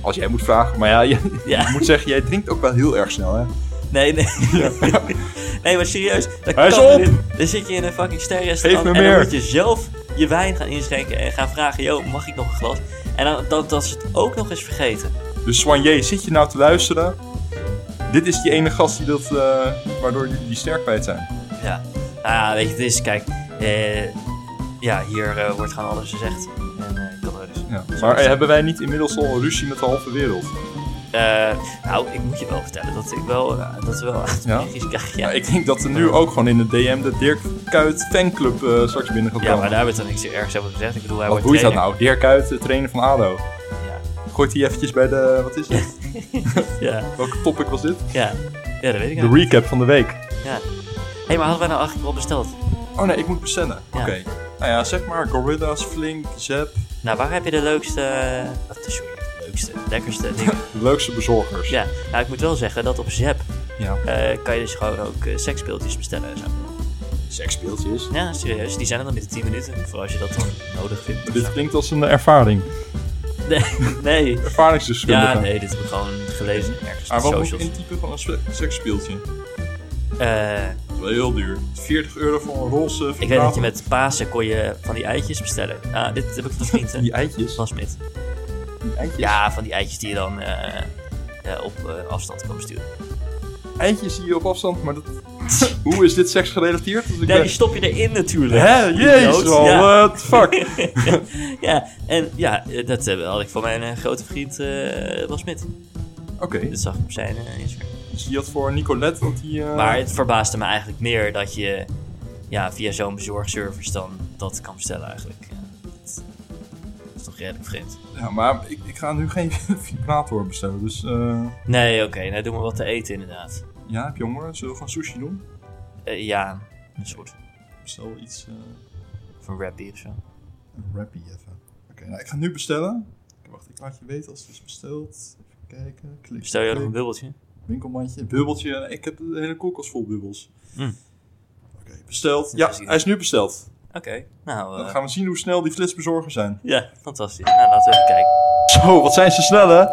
Als jij moet vragen, maar ja, je,
Ja.
je moet zeggen, jij drinkt ook wel heel erg snel, hè?
Nee, nee. nee, maar serieus. Dat
Hij is
kan
op!
niet. Dan zit je in een fucking sterrenrestaurant
Geef me
en dan
meer.
moet je zelf je wijn gaan inschenken en gaan vragen, joh, mag ik nog een glas? En dan, dat, dat ze het ook nog eens vergeten.
Dus Soigné, zit je nou te luisteren? Dit is die ene gast die dat, eh, waardoor jullie die ster kwijt zijn.
Ja. Nou ja, weet je, het is, kijk, eh, ja, hier eh, wordt gewoon alles gezegd. En eh, ik wil er dus.
Ja. Maar eh, hebben wij niet inmiddels al een ruzie met de halve wereld?
Eh, nou, ik moet je wel vertellen dat ik wel, eh, dat we wel echt
Ja?
reacties krijgen. Ja,
Ja, ik denk dat er nu ook gewoon in de DM de Dirk Kuyt fanclub eh, straks binnen gaat
ja,
komen.
maar daar werd dan niks ergs over gezegd. Ik bedoel, hij
Wat
wordt
boeit dat
trainer.
nou? Dirk Kuyt, de trainer van ADO.
Ja.
Gooit hij eventjes bij de... Wat is het?
Ja,
Welke topic was dit?
ja. ja, dat weet ik
De
niet.
recap van de week.
Ja. Hé, hey, maar hadden wij nou eigenlijk wel besteld?
Oh nee, ik moet bestellen.
Ja.
Oké. Nou ja, zeg maar Gorillas, Flink, Zep.
Nou, waar heb je de leukste. eh, Of de, sorry, de leukste, lekkerste dingen?
De leukste bezorgers.
ja, nou, ik moet wel zeggen dat op Zep
ja.
eh, kan je dus gewoon ook eh seksspeeltjes bestellen en zo.
Seksspeeltjes.
Ja, serieus, die zijn er dan binnen 10 minuten. Voor als je dat dan nodig vindt. of
Dit
zo.
klinkt als een ervaring.
Nee, nee.
Ervaringsdeskundige.
Ja, nee, dit heb ik gewoon gelezen ergens op
Maar
de
wat moet ik
socials.
intypen van een se- seksspeeltje?
Eh,
Dat is wel heel duur. 40 euro voor een roze
ik weet dat je met Pasen kon je van die eitjes bestellen. Ah, dit heb ik van vrienden.
Die eitjes.
Van Smit.
Die eitjes.
Ja, van die eitjes die je dan eh, eh, op eh, afstand kan besturen.
Eitjes zie je op afstand, maar dat... Hoe is dit seks gerelateerd? Dus ik
Nee,
ben-
die stop je erin natuurlijk.
Hè? Jezus,
Idioot.
wel,
Ja.
what the fuck?
Ja, en ja, eh, dat eh, had ik van mijn eh, grote vriend eh Bas Smit.
Oké,
Dat zag ik op zijn eh, Instagram.
zie je dat voor Nicolette? Dat die, eh,
Maar het verbaasde me eigenlijk meer dat je ja, via zo'n bezorgservice dan dat kan bestellen eigenlijk. Ja, dat, dat is toch redelijk vreemd.
Ja, maar ik, ik ga nu geen vibrator bestellen, dus... eh,
Nee, oké, nou doen we wat te eten inderdaad.
Ja, heb je honger? Zullen we gewoon sushi doen?
Eh, ja, een soort
Bestel iets... eh
van wrappy of zo.
een wrappie even. Oké, nou, ik ga nu bestellen. Ik heb Wacht, ik laat je weten als het is besteld. Even kijken. Klik.
Bestel jij nog een
klik.
bubbeltje?
Winkelmandje, bubbeltje. Ik heb de hele koelkast vol bubbels.
Hm.
Oké, besteld.
Ja,
Ja,
precies.
hij is nu besteld.
Oké, nou,
Dan
eh,
gaan we zien hoe snel die flitsbezorgers zijn.
ja, fantastisch. Nou, laten we even kijken.
Zo, wat zijn ze snel, hè?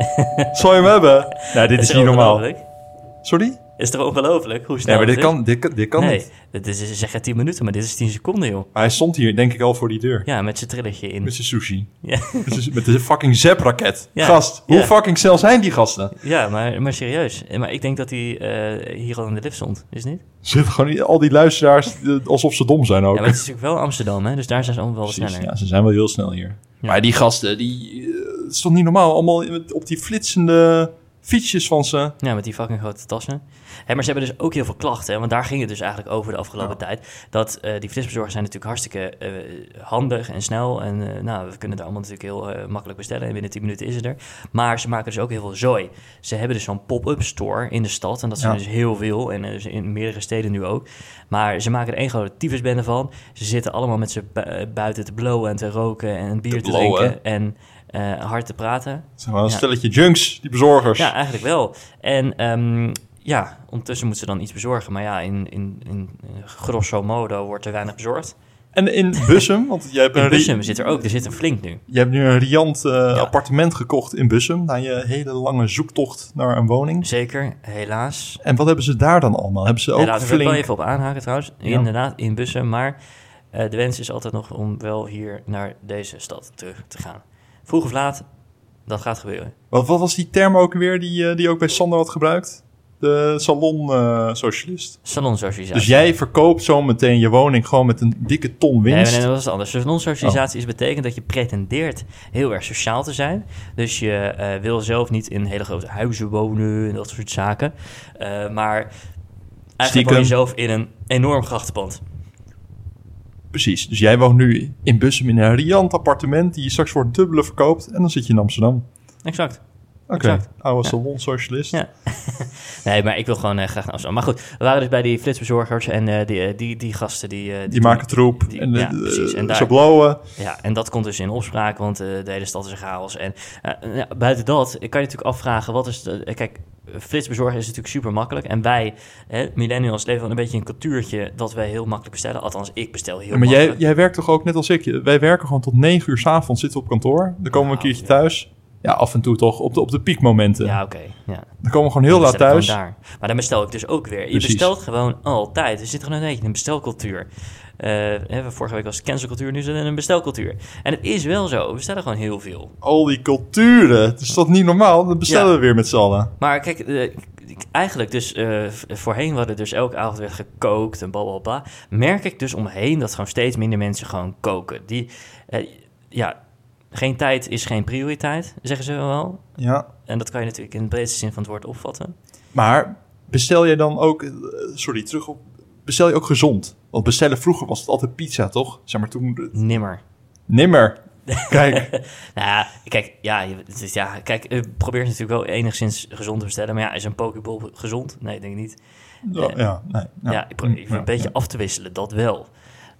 Zal je hem hebben? Nou, dit is,
toch
niet normaal.
ongelooflijk?
Sorry?
Is toch ongelooflijk hoe snel
Nee, maar dit
het is?
kan, dit, kan- dit kan
nee,
niet.
dit is, ze zeggen 10 minuten, maar dit is 10 seconden, joh.
Maar hij stond hier, denk ik, al voor die deur.
Ja, met zijn trilletje in.
Met zijn sushi.
Ja,
Met zijn- Met de fucking zepraket.
Ja.
Gast, hoe
Ja.
fucking snel zijn die gasten?
ja maar, maar serieus. Eh, Maar ik denk dat hij eh, hier al in de lift stond, is het niet?
Zit gewoon niet- al die luisteraars eh, alsof ze dom zijn ook.
Ja, maar het is natuurlijk wel Amsterdam, hè? Dus daar zijn ze allemaal wel wat
Precies,
sneller.
ja, ze zijn wel heel snel hier.
Ja.
Maar die gasten, die, eh, het is toch niet normaal? Allemaal met- op die flitsende fietsjes van ze.
Ja, met die fucking grote tassen. Hé, maar ze hebben dus ook heel veel klachten. hè, Want daar ging het dus eigenlijk over de afgelopen tijd. Dat eh, die flitsbezorgers zijn natuurlijk hartstikke eh, handig en snel. En eh, nou, we kunnen het allemaal natuurlijk heel eh, makkelijk bestellen. En binnen 10 minuten is het er. Maar ze maken dus ook heel veel zooi. Ze hebben dus zo'n pop-up store in de stad. En dat zijn
Ja.
dus heel veel. En eh, dus in meerdere steden nu ook. Maar ze maken er één grote tyfusbende van. Ze zitten allemaal met z'n bu- eh, buiten te blowen en te roken. En bier te,
blowen.
drinken. En eh, hard te praten.
Het zijn wel een
Ja.
stelletje junks, die bezorgers.
Ja, eigenlijk wel. En ehm, ja, ondertussen moet ze dan iets bezorgen. Maar ja, in, in, in eh, grosso modo wordt er weinig bezorgd.
En in Bussum, want jij hebt,
In
een ri-
Bussum zit er ook, er zit een flink nu.
je hebt nu een riant eh, appartement gekocht in Bussum. Na je hele lange zoektocht naar een woning.
Zeker, helaas.
En wat hebben ze daar dan allemaal? Hebben ze ook
helaas, ik wil er wel
flink...
even op aanhaken trouwens. Inderdaad, in Bussen. Maar eh, de wens is altijd nog om wel hier naar deze stad terug te gaan. Vroeg of laat, dat gaat gebeuren.
Wat, wat was die term ook weer die, eh, die je ook bij Sander had gebruikt? De salon-socialist.
Salonsocialisatie.
dus jij verkoopt zo meteen je woning gewoon met een dikke ton
Nee,
winst. Oh.
nee, nee, dat is anders. Dus non-socialisatie is betekent dat je pretendeert heel erg sociaal te zijn. Dus je eh, wil zelf niet in hele grote huizen wonen en dat soort zaken. Eh, maar eigenlijk woon
Stiekem.
je zelf in een enorm grachtenpand.
Precies. Dus jij woont nu in Bussum in een riant appartement die je straks voor het dubbele verkoopt. En dan zit je in Amsterdam.
Exact.
Oké.
Exact.
Oude salon-socialist.
Ja. Nee, maar ik wil gewoon eh, graag naar Amsterdam. Maar goed, we waren dus bij die flitsbezorgers en eh, die, eh, die, die gasten die... eh,
Die
doen-
maken troep.
die-
en de,
ja,
de-
precies. En daar-
ze blowen.
Ja, en dat komt dus in opspraak, want eh, de hele stad is een chaos. En eh, ja, buiten dat eh, kan je natuurlijk afvragen, wat is... De, eh, kijk, flitsbezorgen is natuurlijk super makkelijk. En wij, hè, millennials, leven wel een beetje in een cultuurtje dat wij heel makkelijk bestellen. Althans, ik bestel heel
Ja, maar jij,
makkelijk.
jij werkt toch ook net als ik? Wij werken gewoon tot negen uur s'avonds zitten we op kantoor. Dan komen we een
Nou,
keertje
ja.
thuis. Ja, af en toe toch. Op de, op de piekmomenten.
Ja, oké. ja.
Dan komen we gewoon heel
Dan
laat
bestel ik
thuis.
gewoon daar. Maar dan bestel ik dus ook weer. Je
Precies.
bestelt gewoon altijd. Er zit gewoon een beetje een bestelcultuur. Eh, hè, vorige week was het cancelcultuur, nu is het een bestelcultuur. En het is wel zo, we bestellen gewoon heel veel.
Al die culturen. Het is dat niet normaal? Dan bestellen
Ja.
we weer met z'n allen.
Maar kijk, eh, ik- eigenlijk dus, eh, v- voorheen hadden dus elke avond werd gekookt en bla bla bla. Merk ik dus omheen dat gewoon steeds minder mensen gewoon koken. Die, eh, ja, geen tijd is geen prioriteit, zeggen ze wel.
Ja.
En dat kan je natuurlijk in de breedste zin van het woord opvatten.
Maar bestel je dan ook, eh, sorry, terug op, bestel je ook gezond? Want bestellen vroeger was het altijd pizza, toch? Zeg maar toen,
Nimmer.
nimmer. Kijk,
Nou ja, kijk, ja, je- het is- ja, kijk eh, probeer het natuurlijk wel enigszins gezond te bestellen. Maar ja, is een pokeball gezond? Nee, ik denk niet.
ja, ja, nee,
Ja,
ja.
ik probeer ik probeer een beetje af te wisselen, dat wel.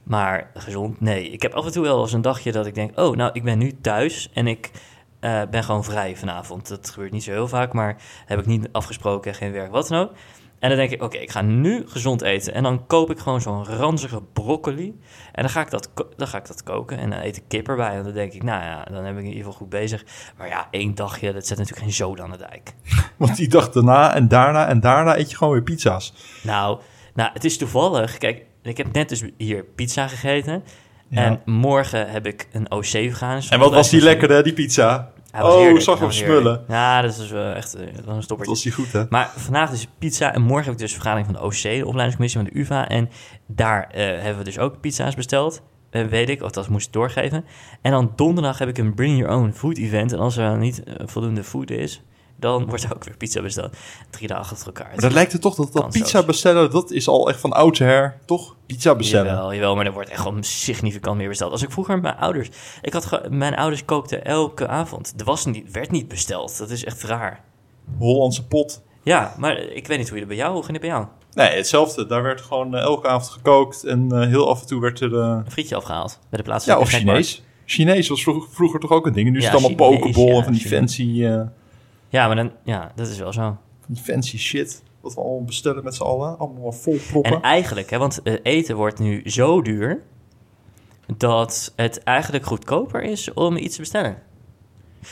Maar gezond, nee. Ik heb af en toe wel eens een dagje dat ik denk... oh, nou, ik ben nu thuis en ik eh, ben gewoon vrij vanavond. Dat gebeurt niet zo heel vaak, maar heb ik niet afgesproken, geen werk, wat dan ook. En dan denk ik, oké, ik ga nu gezond eten. En dan koop ik gewoon zo'n ranzige broccoli. En dan ga ik dat, ko- dan ga ik dat koken en dan eet ik kip erbij. En dan denk ik, nou ja, dan heb ik in ieder geval goed bezig. Maar ja, één dagje, dat zet natuurlijk geen zoden aan de dijk.
Want die dag daarna en daarna en daarna eet je gewoon weer pizza's.
Nou, nou, het is toevallig. Kijk, ik heb net dus hier pizza gegeten.
Ja.
En morgen heb ik een OC gegaan. Dus
En wat was die
hij-
lekkere, die pizza?
Hij was
oh,
heerlijk,
zag
hij
hem
was heerlijk.
smullen.
Ja, dat is wel echt eh, wel een
Dat
stoppertje.
was die goed, hè?
Maar vandaag dus pizza en morgen heb ik dus een vergadering van de OC, de opleidingscommissie van de UvA. En daar eh, hebben we dus ook pizza's besteld. Eh, weet ik, of dat moest ik doorgeven. En dan donderdag heb ik een Bring Your Own Food event. En als er dan niet eh, voldoende food is, dan wordt er ook weer pizza besteld. Drie dagen achter elkaar.
Maar dat lijkt er toch dat, dat
Kansloos.
pizza bestellen, dat is al echt van oudsher, toch? Pizza bestellen.
Jawel, jawel, maar er wordt echt gewoon significant meer besteld. Als ik vroeger met mijn ouders... Ik had ge- mijn ouders kookten elke avond. Er was niet, werd niet besteld. Dat is echt raar.
Hollandse pot.
Ja, maar ik weet niet hoe je bij jou... Hoe ging het bij jou?
Nee, hetzelfde. Daar werd gewoon eh, elke avond gekookt en eh, heel af en toe werd er... eh,
Een frietje afgehaald bij de plaats
ja, of Chinees. Chinees was vroeg- vroeger toch ook een ding. Nu is
Ja,
het allemaal
Chinees,
pokeball
ja,
en van die,
Chinees.
fancy, eh,
Ja, maar dan, ja, dat is wel zo.
van die fancy shit. Wat we allemaal bestellen met z'n allen. Allemaal vol proppen.
En eigenlijk, hè, want eh, eten wordt nu zo duur dat het eigenlijk goedkoper is om iets te bestellen.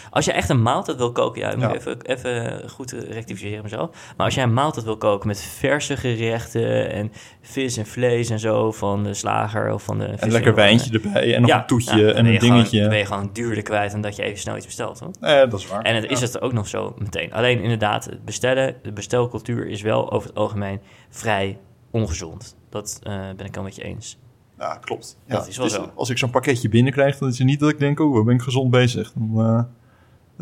Als je echt een maaltijd wil koken, ja, ik moet
Ja.
Even, even goed eh, rectificeren mezelf. Maar als jij een maaltijd wil koken met verse gerechten en vis en vlees en zo van de slager of van de.
En een lekker wijntje erbij. En nog een toetje en een
Gewoon,
dingetje.
dan ben je gewoon duurder kwijt dan dat je even snel iets bestelt. Hoor.
Eh, dat is waar.
En het is het ook nog zo meteen. Alleen inderdaad, het bestellen, de bestelcultuur is wel over het algemeen vrij ongezond. Dat eh, ben ik al met je eens.
Ja, klopt.
Dat is wel
het
zo.
Als ik zo'n pakketje binnenkrijg, dan is het niet dat ik denk... oh, wat ben ik gezond bezig. Dan, eh,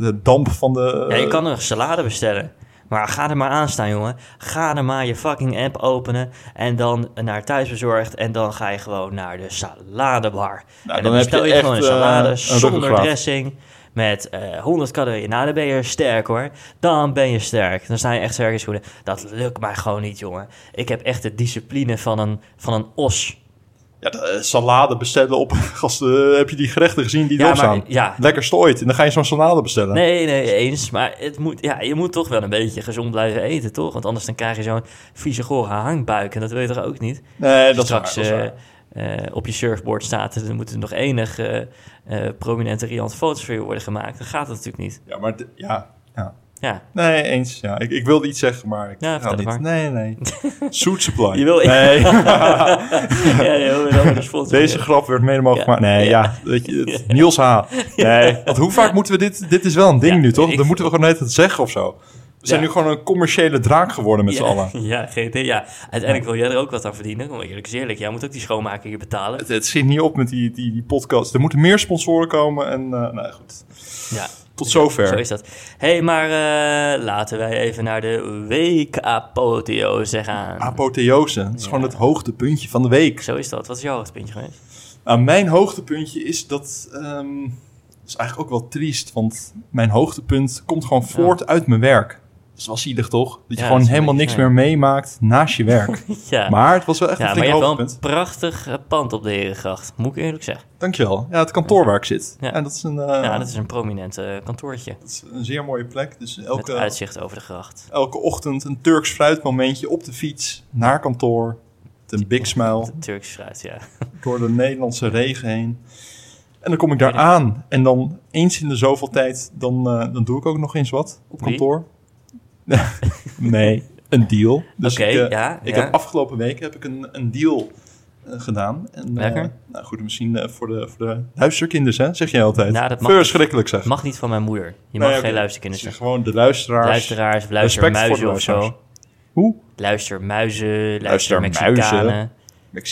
de damp van de...
ja, je kan nog salade bestellen. Maar ga er maar aan staan, jongen. Ga er maar je fucking app openen. En dan naar thuisbezorgd. En dan ga je gewoon naar de saladebar.
Nou,
en dan,
dan heb
bestel
je
je, gewoon een
echt,
salade
eh, een
zonder
ruggengraat.
dressing. Met eh 100 calorieën. Nou, dan ben je sterk hoor. Dan ben je sterk. Dan sta je echt sterk in je schoenen. Dat lukt mij gewoon niet, jongen. Ik heb echt de discipline van een, van een os.
Ja, de, eh, salade bestellen op... Gast, eh, heb je die gerechten gezien die
Ja,
erop
maar-
staan?
ja.
Lekker strooit. En dan ga je zo'n salade bestellen.
Nee, nee, eens. Maar het moet, ja, je moet toch wel een beetje gezond blijven eten, toch? Want anders dan krijg je zo'n vieze gore hangbuik. En dat wil je toch ook niet?
Nee, dat is
straks
waar, dat is
eh, eh, op je surfboard staat, dan moeten er nog enig eh, eh, prominente riant foto's voor je worden gemaakt. Dan gaat dat natuurlijk niet.
Ja, maar... de- ja, ja.
Ja,
Nee, eens. Ja, ik, ik wilde iets zeggen, maar ik
Ja,
ga
vertel
niet.
het
Nee, nee. Suit supply.
Je wil-
Nee.
ja, ja, we hebben een sponsor.
Deze grap werd mede mogelijk
Ja.
gemaakt. Nee, ja. weet je, het- Niels H. Nee, want hoe vaak moeten we dit... Dit is wel een ding
Ja,
nu, toch?
ik-
Dan moeten we gewoon net het zeggen of zo. We zijn
Ja.
nu gewoon een commerciële draak geworden met
ja,
z'n allen.
Ja, GT, ja. Uiteindelijk wil jij er ook wat aan verdienen. Maar eerlijk is eerlijk, jij moet ook die schoonmaker hier betalen.
Het, het zit niet op met die, die, die podcast. Er moeten meer sponsoren komen en... eh, nou goed,
Ja,
tot
zo
zover.
is dat. Hé, hey, maar eh, laten wij even naar de weekapotheose gaan.
Apotheose. Dat is gewoon het hoogtepuntje van de week.
zo is dat. Wat is jouw hoogtepuntje geweest?
Nou, mijn hoogtepuntje is dat... ehm, dat is eigenlijk ook wel triest, want mijn hoogtepunt komt gewoon voort uit mijn werk. Dat is wel zielig, toch? Dat je
Ja, dat
gewoon
is een
helemaal
beetje
niks
fijn.
meer meemaakt naast je werk.
Ja,
Maar het was wel echt
ja
een
maar je
flink
hebt wel een
hoogtepunt.
prachtig eh, pand op de Herengracht. Moet ik eerlijk zeggen.
Dankjewel. Ja, het kantoor waar ik zit.
Ja.
Ja. dat is een, eh,
Ja, dat is een prominent eh, kantoortje.
dat is een zeer mooie plek. Dus
Met
elke,
uitzicht over de gracht.
elke ochtend een Turks fruitmomentje op de fiets naar kantoor. Met een big smile
De Turks fruit, ja.
door de Nederlandse regen heen. En dan kom ik daar aan. En dan eens in de zoveel tijd, dan, eh, dan doe ik ook nog eens wat op
Wie?
kantoor. nee, een deal. Dus
Oké,
ik, eh,
ja,
ik
ja.
heb afgelopen week heb ik een, een deal eh, gedaan. En, eh,
Lekker.
nou goed, misschien eh, voor, de, voor de luisterkinders, hè? zeg je altijd.
Nou, dat mag-
Verschrikkelijk zeg.
Mag niet van mijn moeder. Je mag
Nee,
geen
oké.
luisterkinderen
Het is
zeggen.
gewoon de luisteraars.
Luisteraars, of luistermuizen of zo.
Hoe?
Luistermuizen,
Luistermuizen.
luistermexicanen.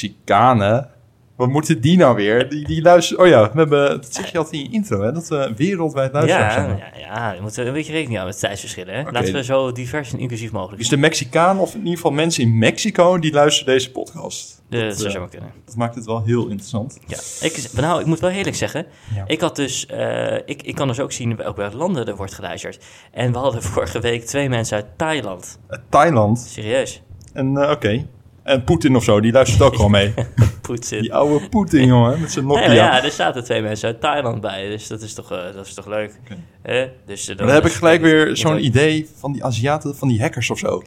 Mexicanen. Wat moeten die nou weer? Die, die luisteren. Oh ja, we hebben. Dat zeg je altijd in je intro, hè? Dat we wereldwijd luisteraars
Ja,
zijn.
ja, ja, je moet er een beetje rekening houden met tijdsverschillen. Hè?
Oké.
Laten we zo divers en inclusief mogelijk
Dus
zijn.
de Mexicaan, of in ieder geval mensen in Mexico, die luisteren deze podcast.
De, dat zou
eh,
zo maar kunnen.
Dat maakt het wel heel interessant.
Ja. Ik, nou, ik moet wel eerlijk zeggen.
Ja.
Ik, had dus, eh, ik, ik kan dus ook zien welke welke landen er wordt geluisterd. En we hadden vorige week twee mensen uit Thailand.
Eh, Thailand.
Serieus.
En eh, oké. En Poetin of zo, die luistert ook gewoon mee.
Poetsen.
Die oude Poetin, jongen, met zijn Nokia.
Nee, maar ja, er zaten twee mensen uit Thailand bij, dus dat is toch, eh, dat is toch leuk. Hè? dus, eh,
Dan heb ik gelijk weer
is-
zo'n idee van die Aziaten, van die hackers of zo.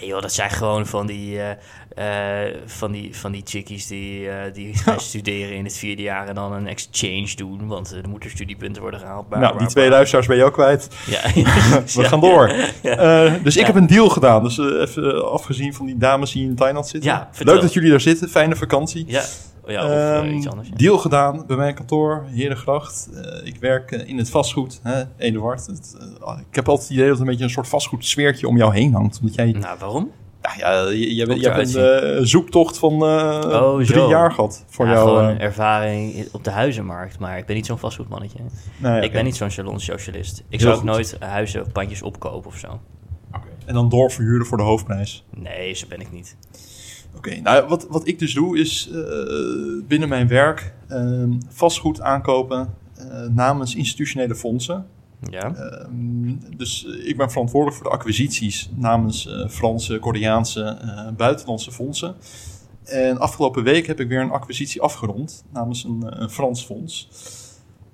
Nee joh, dat zijn gewoon van die, eh, eh, van die, van die chickies die, eh, die gaan studeren in het vierde jaar en dan een exchange doen, want eh, er moeten studiepunten worden gehaald. Bla,
nou,
bla,
die
bla.
twee luisteraars ben je ook kwijt.
Ja,
We gaan door. Eh, dus ik
Ja.
heb een deal gedaan. Dus eh, even eh, afgezien van die dames die in Thailand zitten.
Ja, vertel.
Leuk dat jullie daar zitten. Fijne vakantie.
Ja, Oh ja of eh,
Ehm,
iets anders. ja.
Deal gedaan bij mijn kantoor, Herengracht. Eh, ik werk eh, in het vastgoed, hè, Eduard. Het, eh, ik heb altijd het idee dat er een beetje een soort vastgoedsfeertje om jou heen hangt. Omdat jij,
Nou, waarom?
nou ja, j- j- jij bent-
Ook
jij hebt
eruit
een eh, zoektocht van eh,
Oh,
drie
zo.
jaar gehad voor
Ja,
jou.
gewoon
eh,
ervaring op de huizenmarkt, maar ik ben niet zo'n vastgoedmannetje.
nou ja,
Ik
oké.
ben niet zo'n salonsocialist. Ik
Heel
zou ook
goed.
nooit huizen of pandjes opkopen of zo.
Oké. En dan doorverhuren voor de hoofdprijs.
Nee, zo ben ik niet.
Oké, nou wat, wat ik dus doe is eh, binnen mijn werk ehm, vastgoed aankopen eh, namens institutionele fondsen.
Ja. Nou,
Ehm, dus eh, ik ben verantwoordelijk voor de acquisities namens eh, Franse, Koreaanse, eh, buitenlandse fondsen. En afgelopen week heb ik weer een acquisitie afgerond namens een, eh, een Frans fonds.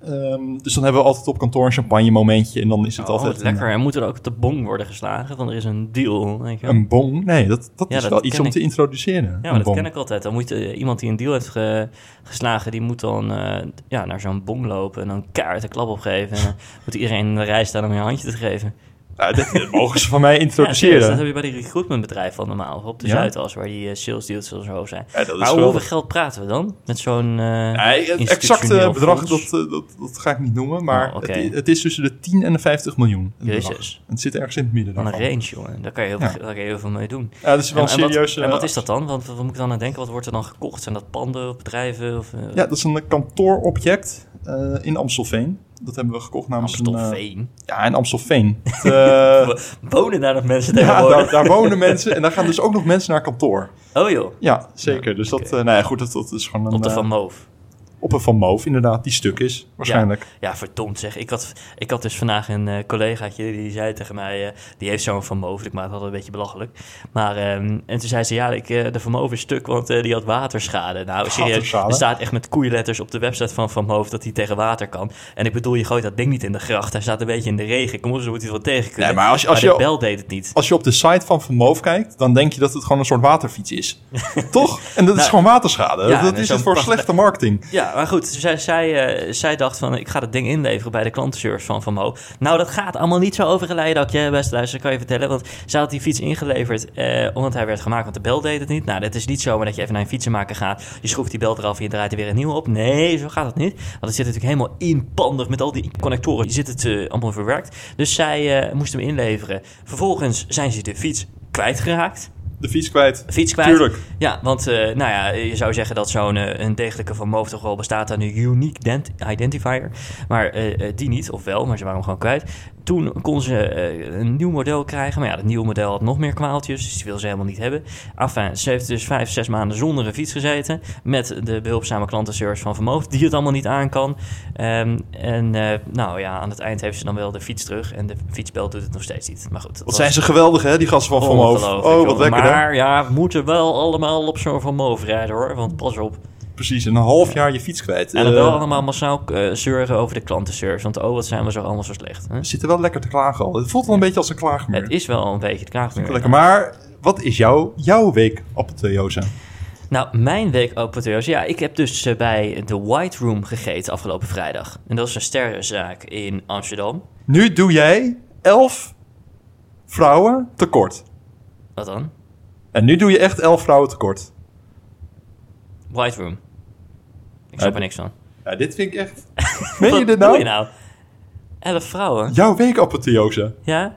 Ehm, dus dan hebben we altijd op kantoor een champagne momentje. En dan is het
Oh,
altijd eh,
wat
een-
lekker. En moet er ook op de bong worden geslagen? Want er is een deal. Weet je wel.
Een bong? Nee, dat, dat
Ja,
is
dat
wel iets
ken
om
ik.
te introduceren.
Ja,
een
maar dat
bong.
ken ik altijd. Dan moet eh, iemand die een deal heeft ge- geslagen, die moet dan eh, ja, naar zo'n bong lopen en dan keihard een klap opgeven. En dan moet iedereen in de rij staan om je een handje te geven.
Ah, dit- dit mogen ze van mij
Ja, serieus,
introduceren.
dat heb je bij die recruitmentbedrijven al normaal, op de
Ja?
Zuidas, waar die eh, sales deals zo hoog zijn.
Ja, dat is
maar
wel-
hoeveel geld praten we dan? Met zo'n... eh,
Nee, het exacte
institutioneel
bedrag, dat,
fonds?
eh, dat, dat ga ik niet noemen. Maar
Oh, oké.
het, i- het is tussen de 10 en de 50 miljoen. het bedrag.
Jezus.
Het zit ergens in het midden
Van een
daarvan.
range, jongen. Daar kan je heel, veel-
Ja.
daar kan je heel veel mee doen.
Ja, dat is wel
en,
een
en
serieus... eh,
wat, en wat is dat dan? Want wat moet ik dan aan denken? Wat wordt er dan gekocht? Zijn dat panden of bedrijven? Of, eh
Ja, dat is een kantoorobject eh, in Amstelveen. Dat hebben we gekocht namens een... eh,
Amstelveen.
ja, in Amstelveen. Het, eh,
Wonen daar nog mensen
ja,
tegenwoordig?
daar, daar wonen mensen en daar gaan dus ook nog mensen naar kantoor.
Oh joh,
Ja, zeker. Dus dat,
oké.
eh, nou ja, goed, dat, dat is gewoon een...
op de
eh,
Van Moof.
op een Van Moof, inderdaad, die stuk is, waarschijnlijk.
Ja, verdomd zeg. Ik had, ik had dus vandaag een eh, collegaatje die zei tegen mij... eh, die heeft zo'n vermogen. Ik maak het altijd een beetje belachelijk. Maar, ehm, en toen zei ze... Ja, ik, eh, de vermogen is stuk, want eh, die had waterschade. Nou, serieus.
Waterschade?
Er staat echt met koeienletters op de website van Van Moof... dat hij tegen water kan. En ik bedoel, je gooit dat ding niet in de gracht. Hij staat een beetje in de regen. Kom op, ze moet hij er wel tegen kunnen.
Nee, maar als je- als
de
je-
bel deed het niet.
Als je op de site van Van Moof kijkt, dan denk je dat het gewoon een soort waterfiets is. Toch? En dat is
Nou,
gewoon waterschade.
ja,
dat
en
is
zo'n
het voor
prachtig-
slechte marketing.
Ja, maar goed, zij, zij, eh, zij dacht van, ik ga dat ding inleveren bij de klantenservice van Van Mo. Nou, dat gaat allemaal niet zo over een leidakje, beste luister, kan je vertellen. Want zij had die fiets ingeleverd eh, omdat hij werd gemaakt, want de bel deed het niet. Nou, dat is niet zomaar dat je even naar een fietsenmaker gaat, je schroeft die bel eraf en je draait er weer een nieuwe op. Nee, zo gaat het niet. Want het zit natuurlijk helemaal inpandig met al die connectoren, zit het eh, allemaal verwerkt. Dus zij eh, moest hem inleveren. Vervolgens zijn ze de fiets kwijtgeraakt
De fiets kwijt.
fiets kwijt.
Tuurlijk.
Ja, want eh, nou ja, je zou zeggen dat zo'n eh, een degelijke Van Moof toch wel bestaat aan een unique ident- identifier. Maar eh, eh, die niet, of wel, maar ze waren hem gewoon kwijt. Toen kon ze eh, een nieuw model krijgen. Maar ja, dat nieuwe model had nog meer kwaaltjes. Dus die wil ze helemaal niet hebben. Enfin, ze heeft dus vijf, zes maanden zonder een fiets gezeten. Met de behulpzame klantenservice van Vermoof, die het allemaal niet aan kan. Ehm, en eh, nou ja, aan het eind heeft ze dan wel de fiets terug. En de fietsbel doet het nog steeds niet. Maar goed, dat
Wat
was-
zijn ze geweldig, hè, die gasten van Van Moof.
Ongelooflijk,
Oh, wat
joh.
lekker, hè?
Maar ja, we moeten wel allemaal op zo'n Van Moof rijden hoor. Want pas op.
Precies, een half jaar je fiets kwijt.
En dan
Eh,
wel allemaal massaal eh, zeuren over de klantenservice. Want oh, wat zijn we zo allemaal zo slecht. Hè?
we zitten wel lekker te klagen al. Het voelt wel een beetje als een klaagmuur.
Het is wel een beetje de kraagmuur.
Lekker, maar wat is jouw, jouw week apotheose?
Nou, mijn week apotheose. Ja, ik heb dus eh, bij de White Room gegeten afgelopen vrijdag. En dat is een sterrenzaak in Amsterdam.
Nu doe jij elf vrouwen tekort.
Wat dan?
En nu doe je echt elf vrouwen tekort.
White Room. Ik snap
Eh,
er niks van.
Ja, dit vind ik echt... Meen je
Wat
dit
doe
nou?
je nou? Elf vrouwen?
Jouw week apotheose.
Ja?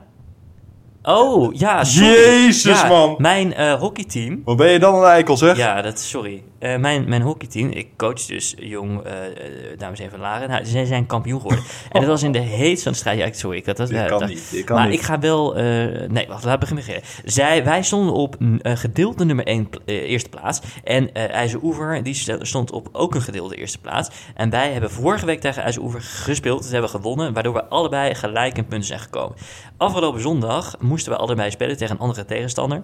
Oh, ja, sorry.
Jezus,
Ja,
man.
Mijn eh, hockeyteam
Wat ben je dan een eikel, zeg?
Ja, dat, sorry. Eh, mijn, mijn hockeyteam, ik coach dus jong, eh, eh, dames en heren van Laren. Nou, zij zijn kampioen geworden. en dat was in de heetste van de strijd. Ja, ik- sorry, ik had dat...
Dit
ja,
kan
dat-
niet, dit kan
maar
niet.
ik ga wel... eh, nee, wacht, laat beginnen. Zij, wij stonden op een eh, gedeelde nummer 1 eerste plaats. En eh IJzeroever, die stel- stond op ook een gedeelde eerste plaats. En wij hebben vorige week tegen IJzeroever gespeeld. Dat hebben we gewonnen, waardoor we allebei gelijk in punten zijn gekomen. Afgelopen zondag moesten we allebei spelen tegen een andere tegenstander.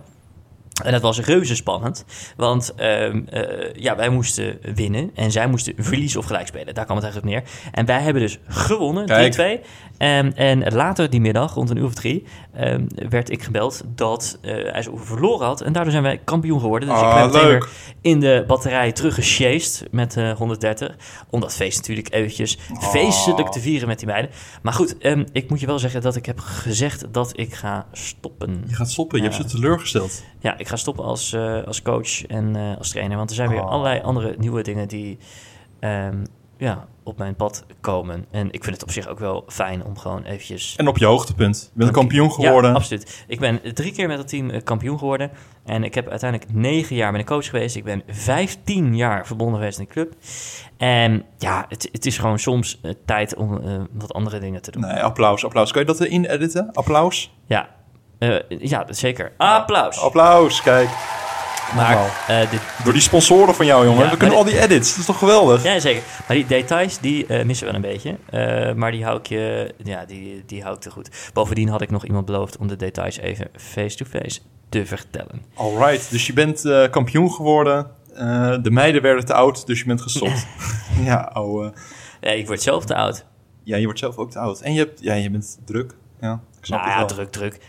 En dat was reuze spannend, want ehm, eh, ja, wij moesten winnen en zij moesten verliezen of gelijk spelen. Daar kwam het eigenlijk op neer. En wij hebben dus gewonnen, 3-2.
Kijk.
Ehm, en later die middag, rond een uur of drie, ehm, werd ik gebeld dat eh IJsselhoeven verloren had. En daardoor zijn wij kampioen geworden. Dus ik
Ah,
ben meteen
leuk.
weer in de batterij teruggesjeest met eh 130. Om dat feest natuurlijk eventjes
Ah.
feestelijk te vieren met die meiden. Maar goed, ehm, ik moet je wel zeggen dat ik heb gezegd dat ik ga stoppen.
Je gaat stoppen, je
Ja.
hebt ze teleurgesteld.
Ja, ik ga stoppen als, eh, als coach en eh, als trainer. Want er zijn weer
Oh.
allerlei andere nieuwe dingen die ehm, ja, op mijn pad komen. En ik vind het op zich ook wel fijn om gewoon eventjes...
En op je hoogtepunt. Je bent kampioen
Ja,
geworden.
absoluut. Ik ben drie keer met dat team eh, kampioen geworden. En ik heb uiteindelijk negen jaar met een coach geweest. Ik ben vijftien jaar verbonden geweest in de club. En ja, het, het is gewoon soms eh, tijd om eh, wat andere dingen te doen.
nee, applaus, applaus. Kan je dat erin editen? Applaus?
Ja, Eh, ja, zeker. Applaus.
Applaus, kijk.
maar
normaal.
eh, de,
Door die sponsoren van jou, jongen.
Ja,
We kunnen
maar
al die edits. Dat is toch geweldig?
Ja, zeker. Maar die details, die eh, missen we wel een beetje. Eh, maar die hou ik je... Ja, die, die hou ik te goed. Bovendien had ik nog iemand beloofd om de details even face-to-face te vertellen.
Alright, dus je bent eh, kampioen geworden. Eh, de meiden werden te oud, dus je bent gestopt. ja, ouwe.
Nee, ik word zelf te oud.
Ja, je wordt zelf ook te oud. En je, hebt, ja, je bent druk. Ja, ik snap
Nou
het
ja,
wel.
druk, druk.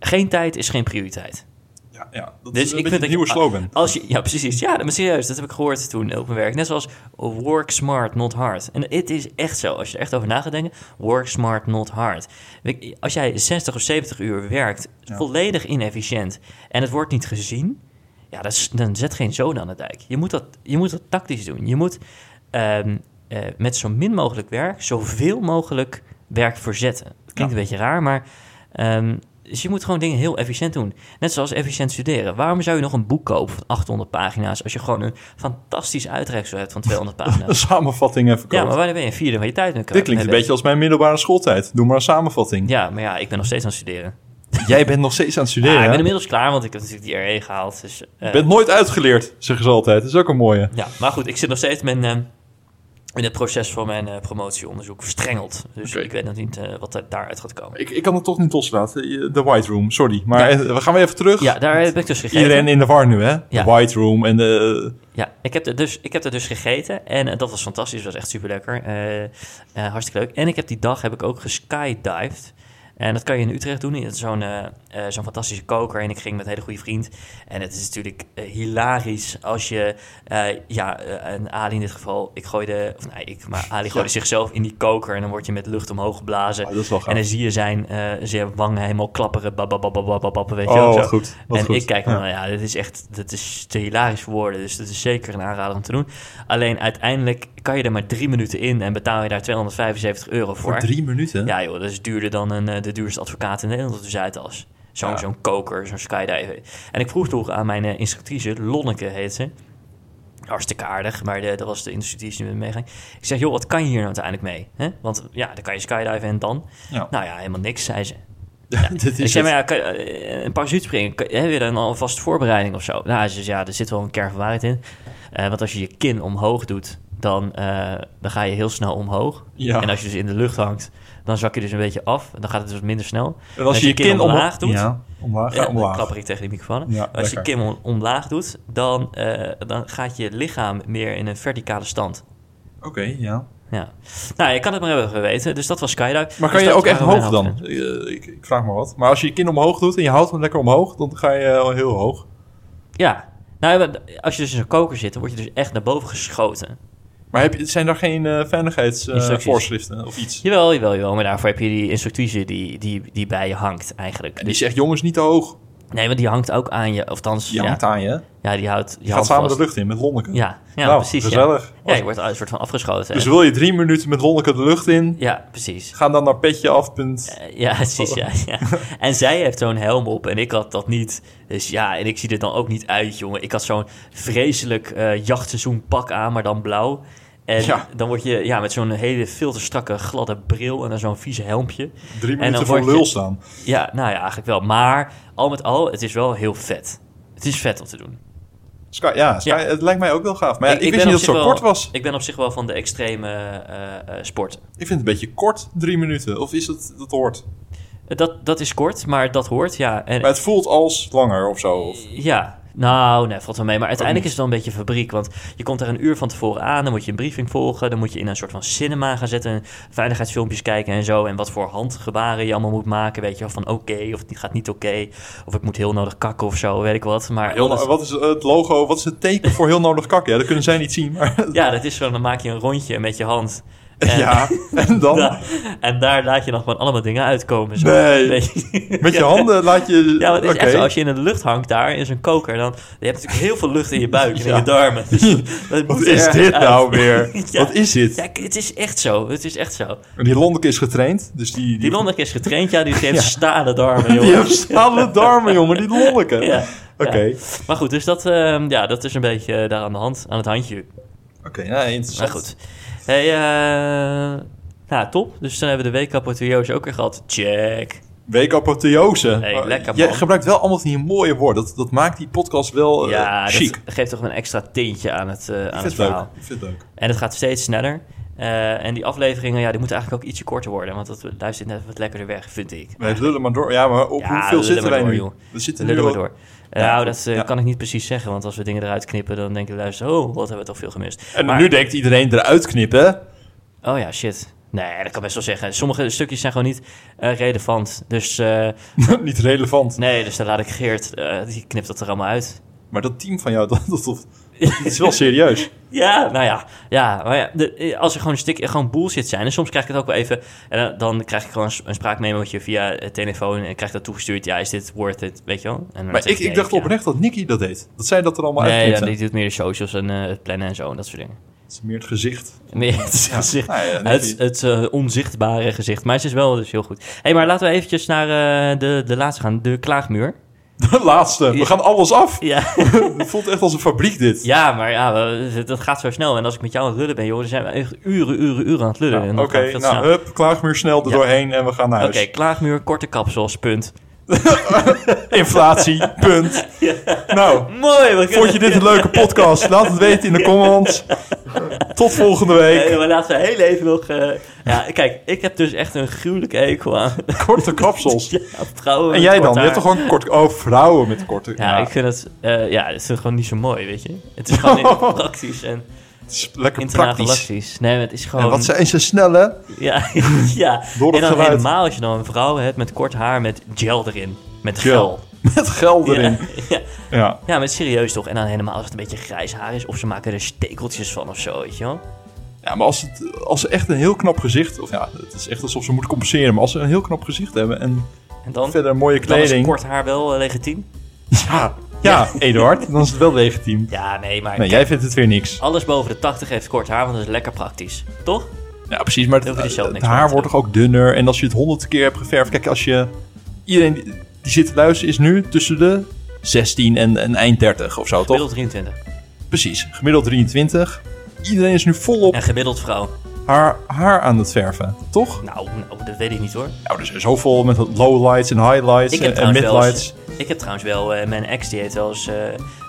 Geen tijd is geen prioriteit.
Ja, ja. Dat
Dus
is een
ik
beetje
vind
een
dat
nieuwe
je- Ah,
slogan.
Als je, ja, precies. Ja, maar serieus, dat heb ik gehoord toen op mijn werk. Net zoals work smart, not hard. En het is echt zo, als je er echt over na gaat denken. Work smart, not hard. Ik- Als jij 60 of 70 uur werkt,
Ja.
volledig inefficiënt, en het wordt niet gezien, ja, dat is- dan zet geen zoden aan de dijk. Je moet dat, je moet dat tactisch doen. Je moet ehm, eh, met zo min mogelijk werk, zoveel mogelijk werk verzetten. Dat klinkt
Ja.
een beetje raar, maar... ehm, dus je moet gewoon dingen heel efficiënt doen. Net zoals efficiënt studeren. Waarom zou je nog een boek kopen van 800 pagina's... als je gewoon een fantastisch uitreksel hebt van 200
Een
pagina's?
samenvatting even kort.
Ah, ja, maar wanneer ben je een vierde van je tijd nu kwijt?
Dit klinkt een beetje als mijn middelbare schooltijd. Doe maar een samenvatting.
eh, Ja, maar ja, ik ben nog steeds aan het studeren.
Jij bent nog steeds aan het studeren.
Ah, ik ben
hè?
inmiddels klaar, want ik heb natuurlijk die RE gehaald. Dus, eh,
Je bent nooit uitgeleerd, zeggen ze altijd. Dat is ook een mooie.
Ja, maar goed, ik zit nog steeds met, eh, in het proces van mijn eh, promotieonderzoek verstrengeld. Dus
Oké.
ik weet nog niet eh, wat er daaruit gaat komen.
Ik, ik kan het toch niet loslaten. De White Room, sorry. Maar
Ja.
eh, we gaan weer even terug.
Ja, daar heb ik dus gegeten.
Iedereen in de war nu, hè?
Ja.
De White Room en de...
Ja, ik heb, er dus, ik heb er dus gegeten en eh, dat was fantastisch. Dat was echt super lekker. hartstikke leuk. En ik heb die dag heb ik ook geskydived. En dat kan je in Utrecht doen. in Zo'n eh, eh, zo'n fantastische koker. En ik ging met een hele goede vriend. En het is natuurlijk eh, hilarisch als je... eh, ja, eh, een Ali in dit geval. Ik gooide... Of nee, ik, maar Ali gooide zichzelf in die koker. En dan word je met lucht omhoog geblazen.
Oh, dat is wel gaaf.
en dan zie je zijn, eh zijn wangen helemaal klapperen. Bab, bab, bab, bab, bab, bab, weet je wel,
Oh,
zo
wat goed. Wat
en
goed.
ik kijk
Ja.
hem, nou ja, dit is echt dit is te hilarisch voor woorden. Dus dat is zeker een aanrader om te doen. Alleen uiteindelijk kan je er maar drie minuten in en betaal je daar 275 euro voor.
Voor drie minuten?
Ja joh, dat is duurder dan een, eh, de duurste advocaat in Nederland op de Zuidas. Zo'n
Ja.
zo'n koker, zo'n skydiver. En ik vroeg toch aan mijn eh, instructrice, Lonneke heet ze. Hartstikke aardig, maar de, dat was de instructrice die met me meeging. Ik zeg, joh, wat kan je hier nou uiteindelijk mee? hè? Want ja, dan kan je skydiven en dan?
Ja.
Nou ja, helemaal niks, zei ze.
Ja,
Ik
dit is
zei,
het.
maar Nou, Dus ja, kan, eh, een parachute springen, kan- heb je dan alvast voorbereiding of zo? Nou, ze zei, ja, er zit wel een kern van waarheid in. Eh, want als je je kin omhoog doet, dan, eh, dan ga je heel snel omhoog.
Ja.
En als je dus in de lucht hangt, dan zak je dus een beetje af. Dan gaat het dus wat minder snel.
En als je je kin omlaag doet...
ja,
omlaag. Ja,
dan
omlaag.
klapper ik tegen die microfoon.
Ja,
als je je
lekker.
kin om- omlaag doet, dan, eh, dan gaat je lichaam meer in een verticale stand.
Oké, ja.
Ja. Nou, je kan het maar hebben geweten. Dus dat was skydive.
Maar kan
Dus
je
dat
ook echt
waren mijn
hoog dan? Eh, ik, ik vraag maar wat. Maar als je je kin omhoog doet en je houdt hem lekker omhoog, dan ga je al heel hoog.
Ja. Nou, ja, maar als je dus in zo'n koker zit, dan word je dus echt naar boven geschoten.
Maar heb je, zijn er geen eh,
Instructies.
veiligheidsvoorschriften eh, of iets?
Jawel, jawel, jawel. Maar daarvoor heb je die instructrice die, die, die bij je hangt eigenlijk.
En die
Dus,
zegt, jongens, niet te hoog.
nee, want die hangt ook aan je. Of thans,
Je
ja,
hangt aan je. hè?
ja, die houdt je
Je gaat
hand
samen
vast.
de lucht in met Lonneke.
Ja, eh. ja
Nou,
precies.
gezellig.
Ja. ja, je wordt een soort van afgeschoten.
Dus wil je drie minuten met Lonneke de lucht in,
Ja, precies.
ga dan naar petje af. punt.
Eh, Ja, precies, ja,
Oh.
ja. En zij heeft zo'n helm op en ik had dat niet. Dus ja, en ik zie er dan ook niet uit, jongen. Ik had zo'n vreselijk eh jachtseizoen pak aan, maar dan blauw. En
Ja.
dan word je ja, met zo'n hele filterstrakke gladde bril en dan zo'n vieze helmpje.
Drie
En dan
minuten voor
word je-
lul staan.
Ja, nou ja, eigenlijk wel. Maar al met al, het is wel heel vet. Het is vet om te doen.
Sky, ja, Sky,
Ja.
het lijkt mij ook wel gaaf. Maar ja, ik,
ben
wist
op
niet dat het
zich
zo
wel-
kort was.
Ik ben op zich wel van de extreme eh, eh, sporten.
Ik vind het een beetje kort, drie minuten. Of is dat, dat hoort.
Eh, Dat, dat is kort, maar dat hoort, ja. En,
Maar het voelt als langer of zo. Of,
Ja, nou, nee, valt wel mee. Maar uiteindelijk is het wel een beetje fabriek. Want je komt er een uur van tevoren aan, dan moet je een briefing volgen. Dan moet je in een soort van cinema gaan zitten. en Veiligheidsfilmpjes kijken en zo. En wat voor handgebaren je allemaal moet maken. Weet je wel, van oké, of het gaat niet oké. of ik moet heel nodig kakken of zo, weet ik wat. Maar
heel,
alles-
wat is het logo? Wat is het teken voor heel nodig kakken? Ja, dat kunnen zij niet zien. Maar,
ja, dat is zo. Dan maak je een rondje met je hand. En-
ja, en dan
Da- en daar laat je dan gewoon allemaal dingen uitkomen. Zo.
Nee.
Nee.
met je handen laat je...
Ja, maar het is
oké.
echt zo, als je in de lucht hangt daar, in zo'n koker, dan... Je hebt natuurlijk heel veel lucht in je buik en in
Ja.
je darmen. Dus dat
Wat
moet
is
ergens
dit
uit.
nou weer?
Ja.
Wat is dit?
Ja, k- het is echt zo. Het is echt zo.
En die Lonneke is getraind. Dus die, die,
Die Lonneke is getraind, ja, die heeft stalen darmen,
die
joh.
heeft stalen darmen, jongen. Die Lonneke.
Ja, ja.
Oké,
Maar goed, dus dat, ehm, ja, dat is een beetje eh, daar aan de hand, aan het handje.
oké, nou
Maar
interessant.
goed. Hey, eh, nou, top. Dus dan hebben we de weekapportio's ook weer gehad. Check.
Weekapothiose.
Hey,
Maar
lekker,
Jij
man.
gebruikt wel allemaal van die mooie woorden. Dat, dat maakt die podcast wel eh,
Ja,
chic.
dat geeft toch een extra tintje aan het, eh,
Ik
aan het
vind het
verhaal.
leuk. Ik vind het leuk.
En het gaat steeds sneller. Eh, en die afleveringen, ja, die moeten eigenlijk ook ietsje korter worden. Want dat luistert net wat lekkerder weg, vind ik.
Wij lullen maar door. Ja, maar op
Ja,
hoeveel
lullen
zitten
maar
wij
door,
nu?
joh.
We zitten nu
Lullen maar
al-
door. Eh,
Ja,
nou,
goed.
dat eh,
Ja.
kan ik niet precies zeggen. Want als we dingen eruit knippen, dan denken de luisteraars... Oh, wat hebben we toch veel gemist.
En
Maar-
nu denkt iedereen eruit knippen.
Oh ja, shit. Nee, dat kan best wel zeggen. Sommige stukjes zijn gewoon niet eh, relevant. Dus eh,
Niet relevant.
nee, dus dan laat ik Geert, eh, die knipt dat er allemaal uit.
Maar dat team van jou, dat, dat, dat- dat is wel serieus.
Ja, nou ja. Ja, maar ja, de- eh, als er gewoon, stik, gewoon bullshit zijn. En soms krijg ik het ook wel even. En dan, dan krijg ik gewoon een s- een spraakmemootje via eh, telefoon. En krijg ik dat toegestuurd. Ja, is dit worth it? Weet je wel? En dan
Maar
zeg
ik, ik
nee,
dacht
ja.
oprecht dat Nicky dat deed. Dat zij dat er allemaal
Nee,
uitknipt
ja,
zijn.
die doet meer de socials en eh, het plannen en zo. En dat soort dingen.
Het is meer het gezicht.
Nee, het, is gezicht-
Nou ja, Nicky.
het, het eh, onzichtbare gezicht. Maar ze is wel dus heel goed. Hé, hey, maar laten we eventjes naar eh, de, de laatste gaan. De klaagmuur.
De laatste. We
Ja.
gaan alles af.
Ja,
Het voelt echt als een fabriek dit.
ja maar ja, we- dat gaat zo snel. En als ik met jou aan het lullen ben, joh, dan zijn we echt uren, uren, uren aan het lullen. En
Oké,
dat gaat veel te
nou,
snel.
hup, klaagmuur snel er
Ja.
doorheen en we gaan naar
Oké,
huis.
klaagmuur, korte kapsels, punt.
Inflatie, punt. Nou,
Mooi, we
vond je dit een leuke podcast? Laat het weten in de comments. Tot volgende week.
maar laten we heel even nog... eh, ja, kijk, ik heb dus echt een gruwelijke hekel aan
Korte kapsels.
ja, vrouwen
En
met
jij
kort
dan? Je hebt
haar.
toch gewoon kort... Oh, vrouwen met korte...
Ja, ik vind het, eh, ja, ik vind het gewoon niet zo mooi, weet je. Het is gewoon niet praktisch en
het is lekker praktisch.
internationalistisch. Nee, maar het is gewoon...
En wat zijn ze snel, hè?
Ja, ja.
Door
en
dat
dan
geluid.
helemaal als je dan een vrouw hebt met kort haar met gel erin. Met
Gel.
gel.
Met geld erin.
Ja, ja.
Ja.
ja, maar serieus toch. En dan helemaal als het een beetje grijs haar is. Of ze maken er stekeltjes van of zo, weet je wel.
Ja, maar als, het, als ze echt een heel knap gezicht... Of ja, het is echt alsof ze moeten compenseren. Maar als ze een heel knap gezicht hebben en
En dan,
verder mooie
dan is
kleding...
kort haar wel eh, legitiem.
Ja, ja, Eduard. Dan is het wel legitiem.
Ja, nee, maar
Nee, jij vindt het weer niks.
alles boven de 80 heeft kort haar, want dat is lekker praktisch. Toch?
Ja, precies. Maar
Dan
het,
hoef je er zelf
het
niks mee
haar
te
wordt toch ook dunner. En als je het honderd keer hebt geverfd... Kijk, als je... Iedereen die, die zit te luisteren is nu tussen de 16 en, en eind 30 of zo, toch?
Gemiddeld 23.
Precies. Gemiddeld 23. Iedereen is nu volop
En gemiddeld vrouw.
haar, haar aan het verven, toch?
Nou, nou, dat weet ik niet hoor.
Nou, er zijn zoveel met lowlights en highlights
Ik heb
en, en
trouwens wel eens-
midlights.
Ik heb trouwens wel, eh, mijn ex die heeft wel eens, eh,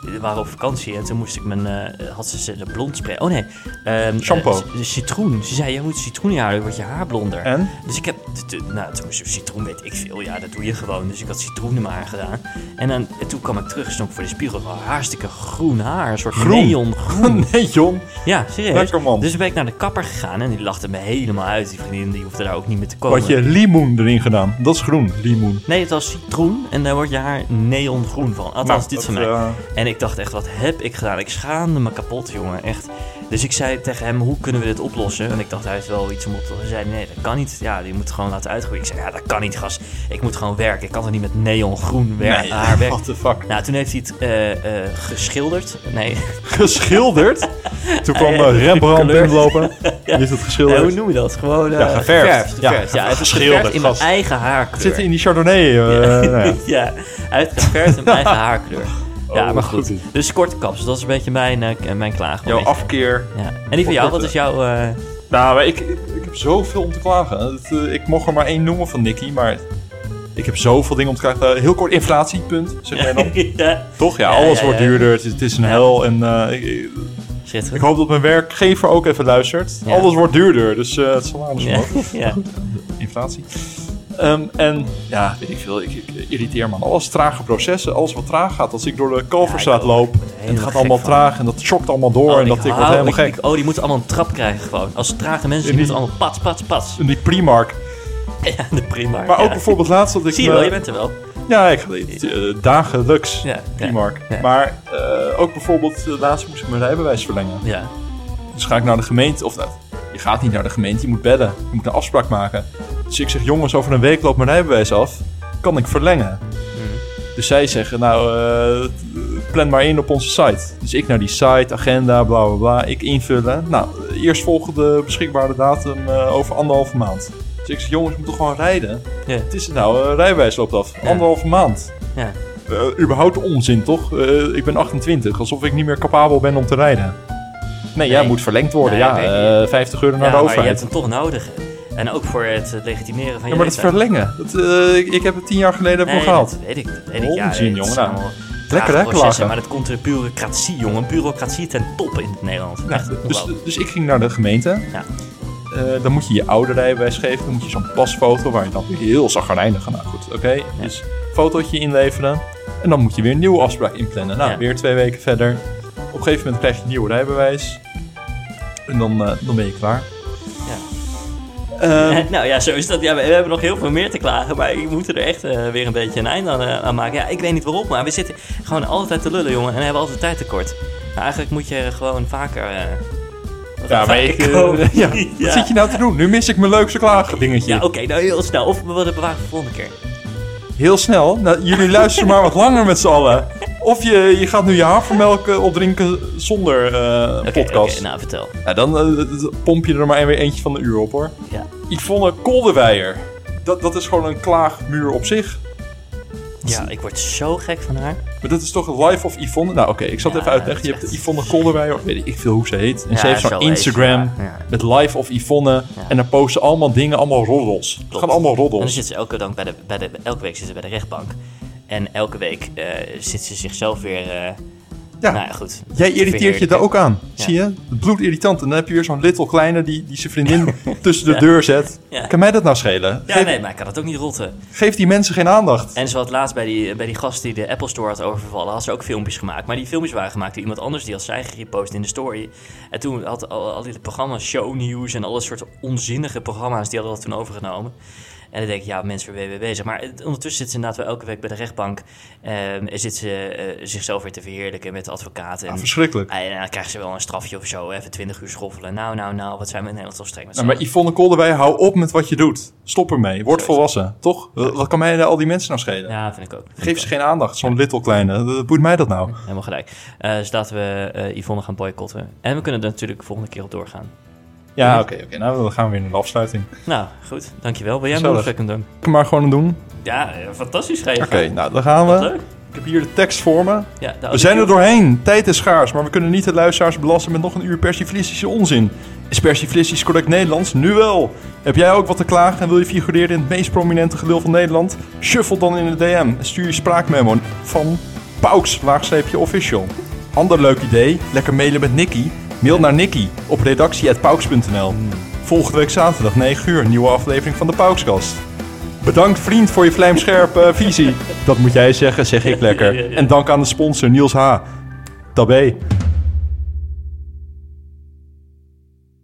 we waren op vakantie en toen moest ik mijn, eh, had ze ze de blond spray, oh nee. ehm,
Shampoo.
eh, c- de citroen. Ze zei, jij moet citroen in je haar, doen, wordt je haar blonder.
En?
Dus ik heb, t- t- nou toen moest ik citroen, weet ik veel, ja dat doe je gewoon. Dus ik had citroen in mijn haar gedaan. En dan, en toen kwam ik terug, stond ik voor de spiegel, wel hartstikke groen haar, een soort
Groen?
neon groen.
nee, John.
Ja, serieus.
Lekker, man.
Dus toen ben ik naar de kapper gegaan en die lachte me helemaal uit. Die vriendin die hoefde daar ook niet meer te komen.
Wat je limoen erin gedaan. Dat is groen, limoen.
Nee, het was citroen en daar wordt je haar neongroen van. Althans,
Nou,
dit
dat,
van mij.
eh,
En ik dacht echt, wat heb ik gedaan? Ik schaamde me kapot, jongen, echt. Dus ik zei tegen hem, hoe kunnen we dit oplossen? En ik dacht, hij heeft wel iets om op te... Hij zei, nee, dat kan niet. Ja, die moet gewoon laten uitgroeien. Ik zei, ja, dat kan niet, gast. Ik moet gewoon werken. Ik kan toch niet met neongroen werken,
nee,
haar werken.
what the fuck.
Nou, toen heeft hij het eh, eh, geschilderd. Nee,
Geschilderd. Toen kwam
Ja,
eh,
ja,
Rembrandt
gekleurd.
binnenlopen. Die heeft het
eh, hoe
geschilderd.
noem je dat? Gewoon eh,
Ja, geverfd. Ja,
geverfd. Ja, hij heeft het
geschilderd,
geverfd in mijn
gast.
eigen haarkleur.
het zit in die chardonnay. eh, nou ja.
Ja, uitgeverfd in mijn eigen haarkleur. Ja,
Oh,
maar
goed.
goed. Dus korte kaps, dat is een beetje mijn, eh, k- mijn klaag.
Jouw afkeer.
Ja. En die van jou, wat is jouw... eh,
Nou, maar ik, ik, ik heb zoveel om te klagen. Het, eh, ik mocht er maar één noemen van Nicky, maar ik heb zoveel dingen om te klagen. Eh, heel kort inflatiepunt, zeg jij dan.
ja.
Toch? Ja,
Ja,
alles
ja,
wordt
ja.
duurder. Het, is- het is een
Ja.
hel. En eh, ik, ik
Schitterend.
hoop dat mijn werkgever ook even luistert.
Ja.
Alles wordt duurder, dus eh, het salaris
Ja,
omhoog.
ja.
Inflatie. Ehm, en ja, weet ik veel. Ik, ik irriteer me aan alles. Trage processen. Alles wat traag gaat. Als ik door de Kalverstraat
Ja, ik ook.
loop
Ik ben er
en het
helemaal
gaat allemaal
gek van. Oh,
traag en dat chokt allemaal door Oh, en
ik
dat ik word
hou-
helemaal
ik-
gek.
ik- oh, die moeten allemaal een trap krijgen gewoon. Als trage mensen, die
En die-
moeten allemaal pats, pats, pats.
En die Primark.
Ja, de prima.
Maar ook
ja.
bijvoorbeeld eh, laatst dat ik...
Zie je
me-
wel, je bent er wel.
Ja, ik, eh, dagelijks
Ja, ja,
Primark.
ja.
Maar eh, ook bijvoorbeeld eh, laatst moest ik mijn rijbewijs verlengen.
Ja.
Dus ga ik naar de gemeente, of nou, je gaat niet naar de gemeente, je moet bellen. Je moet een afspraak maken. Dus ik zeg, jongens, over een week loopt mijn rijbewijs af. Kan ik verlengen? Dus zij zeggen, nou, eh, plan maar in op onze site. Dus ik naar die site, agenda, bla bla bla. Ik invullen. Nou, eerst volgende beschikbare datum eh, over anderhalve maand. Dus ik zeg, jongens, we moeten gewoon rijden.
Ja.
Het is het nou, eh, rijbewijs loopt af.
Ja.
Anderhalve maand.
Ja.
Eh, überhaupt onzin, toch? Eh, ik ben 28, alsof ik niet meer capabel ben om te rijden. Nee, jij
Nee.
moet verlengd worden.
Nee,
ja,
nee.
eh, 50 euro naar
Ja,
de
maar je
overheid.
hebt hem toch nodig. En ook voor het eh, legitimeren van je
Ja, maar dat
leeftijd.
verlengen. Dat, eh, ik, ik heb het tien jaar geleden heb ik
Nee,
al gehaald.
dat weet ik. Dat weet ik. Ja,
Onzin,
het is
jongen, nou.
allemaal
Lekker,
trage
hè,
processen,
klagen.
Maar dat komt door de bureaucratie, jongen. Bureaucratie ten top in Nederland.
Nou,
Echt
dus,
ongelooflijk.
dus ik ging naar de gemeente.
Ja.
Eh, dan moet je je oude rijbewijs geven. Dan moet je zo'n pasfoto waar je dan weer heel zagrijnig gaat. Nou goed, oké. Dus fotootje inleveren. En dan moet je weer een nieuwe afspraak inplannen. Nou,
Ja.
weer twee weken verder. Op een gegeven moment krijg je een nieuw rijbewijs. En dan, eh, dan ben je klaar.
Ja.
Ehm,
Eh, nou ja, zo is dat. Ja, we, we hebben nog heel veel meer te klagen, maar we moeten er echt eh, weer een beetje een einde aan, eh, aan maken. Ja, ik weet niet waarom, maar we zitten gewoon altijd te lullen, jongen, en hebben altijd tijd tekort. Nou, eigenlijk moet je gewoon vaker... eh,
ja, maar ik...
vaker
eh,
komen.
ja,
Ja.
Wat zit je nou te doen? Nu mis ik mijn leukste klagen dingetje.
Ja, oké, nou heel snel. Of we willen bewaren voor de volgende keer.
Heel snel. Nou, jullie luisteren maar wat langer met z'n allen. Of je, je gaat nu je havermelk eh, opdrinken zonder eh,
Oké,
podcast.
oké, nou, vertel.
Nou, dan eh, d- pomp je er maar weer eentje van de uur op hoor.
Ja.
Yvonne Kolderweijer. Dat, dat is gewoon een klaagmuur op zich.
ja, ik word zo gek van haar.
Maar dat is toch Life of Yvonne? Nou oké, ik zal het
Ja,
even uitleggen. Je
dat is
hebt
echt-
Yvonne Kolderweijer, of weet ik veel hoe ze heet. En
Ja,
ze heeft
zo
zo'n
heet
Instagram
ze, ja. Ja.
met Life of Yvonne.
Ja.
En dan posten ze allemaal dingen, allemaal roddels. Het gaan allemaal
En dan
roddels.
zit ze elke, dag bij de, bij de, elke week zit ze bij de rechtbank. En elke week eh, zit ze zichzelf weer... eh,
Ja.
Nou ja, goed.
Jij irriteert je
Verheerlijken.
daar ook aan,
Ja.
zie je? Het bloedirritant. En dan heb je weer zo'n little kleine die, die zijn vriendin tussen de deur zet.
Ja.
Kan mij dat nou schelen?
Ja,
Geef-
nee, maar ik kan het ook niet rotten.
Geef die mensen geen aandacht.
En ze had laatst bij die, bij die gast die de Apple Store had overvallen, had ze ook filmpjes gemaakt. Maar die filmpjes waren gemaakt door iemand anders, die had zij gepost in de story. En toen had al, al die programma's, Show News en alle soorten onzinnige programma's, die hadden dat toen overgenomen. En dan denk ik, ja, mensen weer weer bezig. Maar het- ondertussen zit ze inderdaad wel elke week bij de rechtbank. ehm, en zit ze eh, zichzelf weer te verheerlijken met de advocaten.
Ja,
En,
verschrikkelijk.
en dan krijgen ze wel een strafje of zo, even 20 uur schoffelen. Nou, nou, nou, wat zijn we in Nederland toch streng met
Nou,
z'n
maar Yvonne Kolderwij, hou op met wat je doet. Stop ermee. Word
Zo is
volwassen, toch? Wat wat kan mij nou al die mensen nou schelen?
allen? Ja, vind ik ook. Vind ik
Geef ze geen aandacht, zo'n little kleine. Dat- dat Boeit mij dat nou?
Helemaal gelijk. Eh, dus laten we eh, Yvonne gaan boycotten. En we kunnen er natuurlijk volgende keer op doorgaan.
Ja, oké, oké. Nou, dan gaan we weer naar de afsluiting.
Nou, goed. Dankjewel. Wil jij hem
Gezellig.
nog second doen?
Kan maar gewoon doen.
Ja, eh, fantastisch geven.
Oké, nou, dan gaan
Wat
we.
leuk.
Ik heb hier de tekst voor me.
Ja, de
We
audio-
zijn er doorheen. Tijd is schaars, maar we kunnen niet de luisteraars belasten met nog een uur persiflistische onzin. Is persiflistisch correct Nederlands? Nu wel. Heb jij ook wat te klagen en wil je figureren in het meest prominente gedeelte van Nederland? Shuffle dan in de DM en stuur je spraakmemo van Pauks, laagstreepje official. Ander leuk idee? Lekker mailen met Nicky? Mail naar Nicky op redactie.pauks.nl. Volgende week zaterdag 9 uur, nieuwe aflevering van de Paukskast. Bedankt vriend voor je vlijmscherpe eh, visie. Dat moet jij zeggen, zeg ik lekker. En dank aan de sponsor Niels H. Tabé.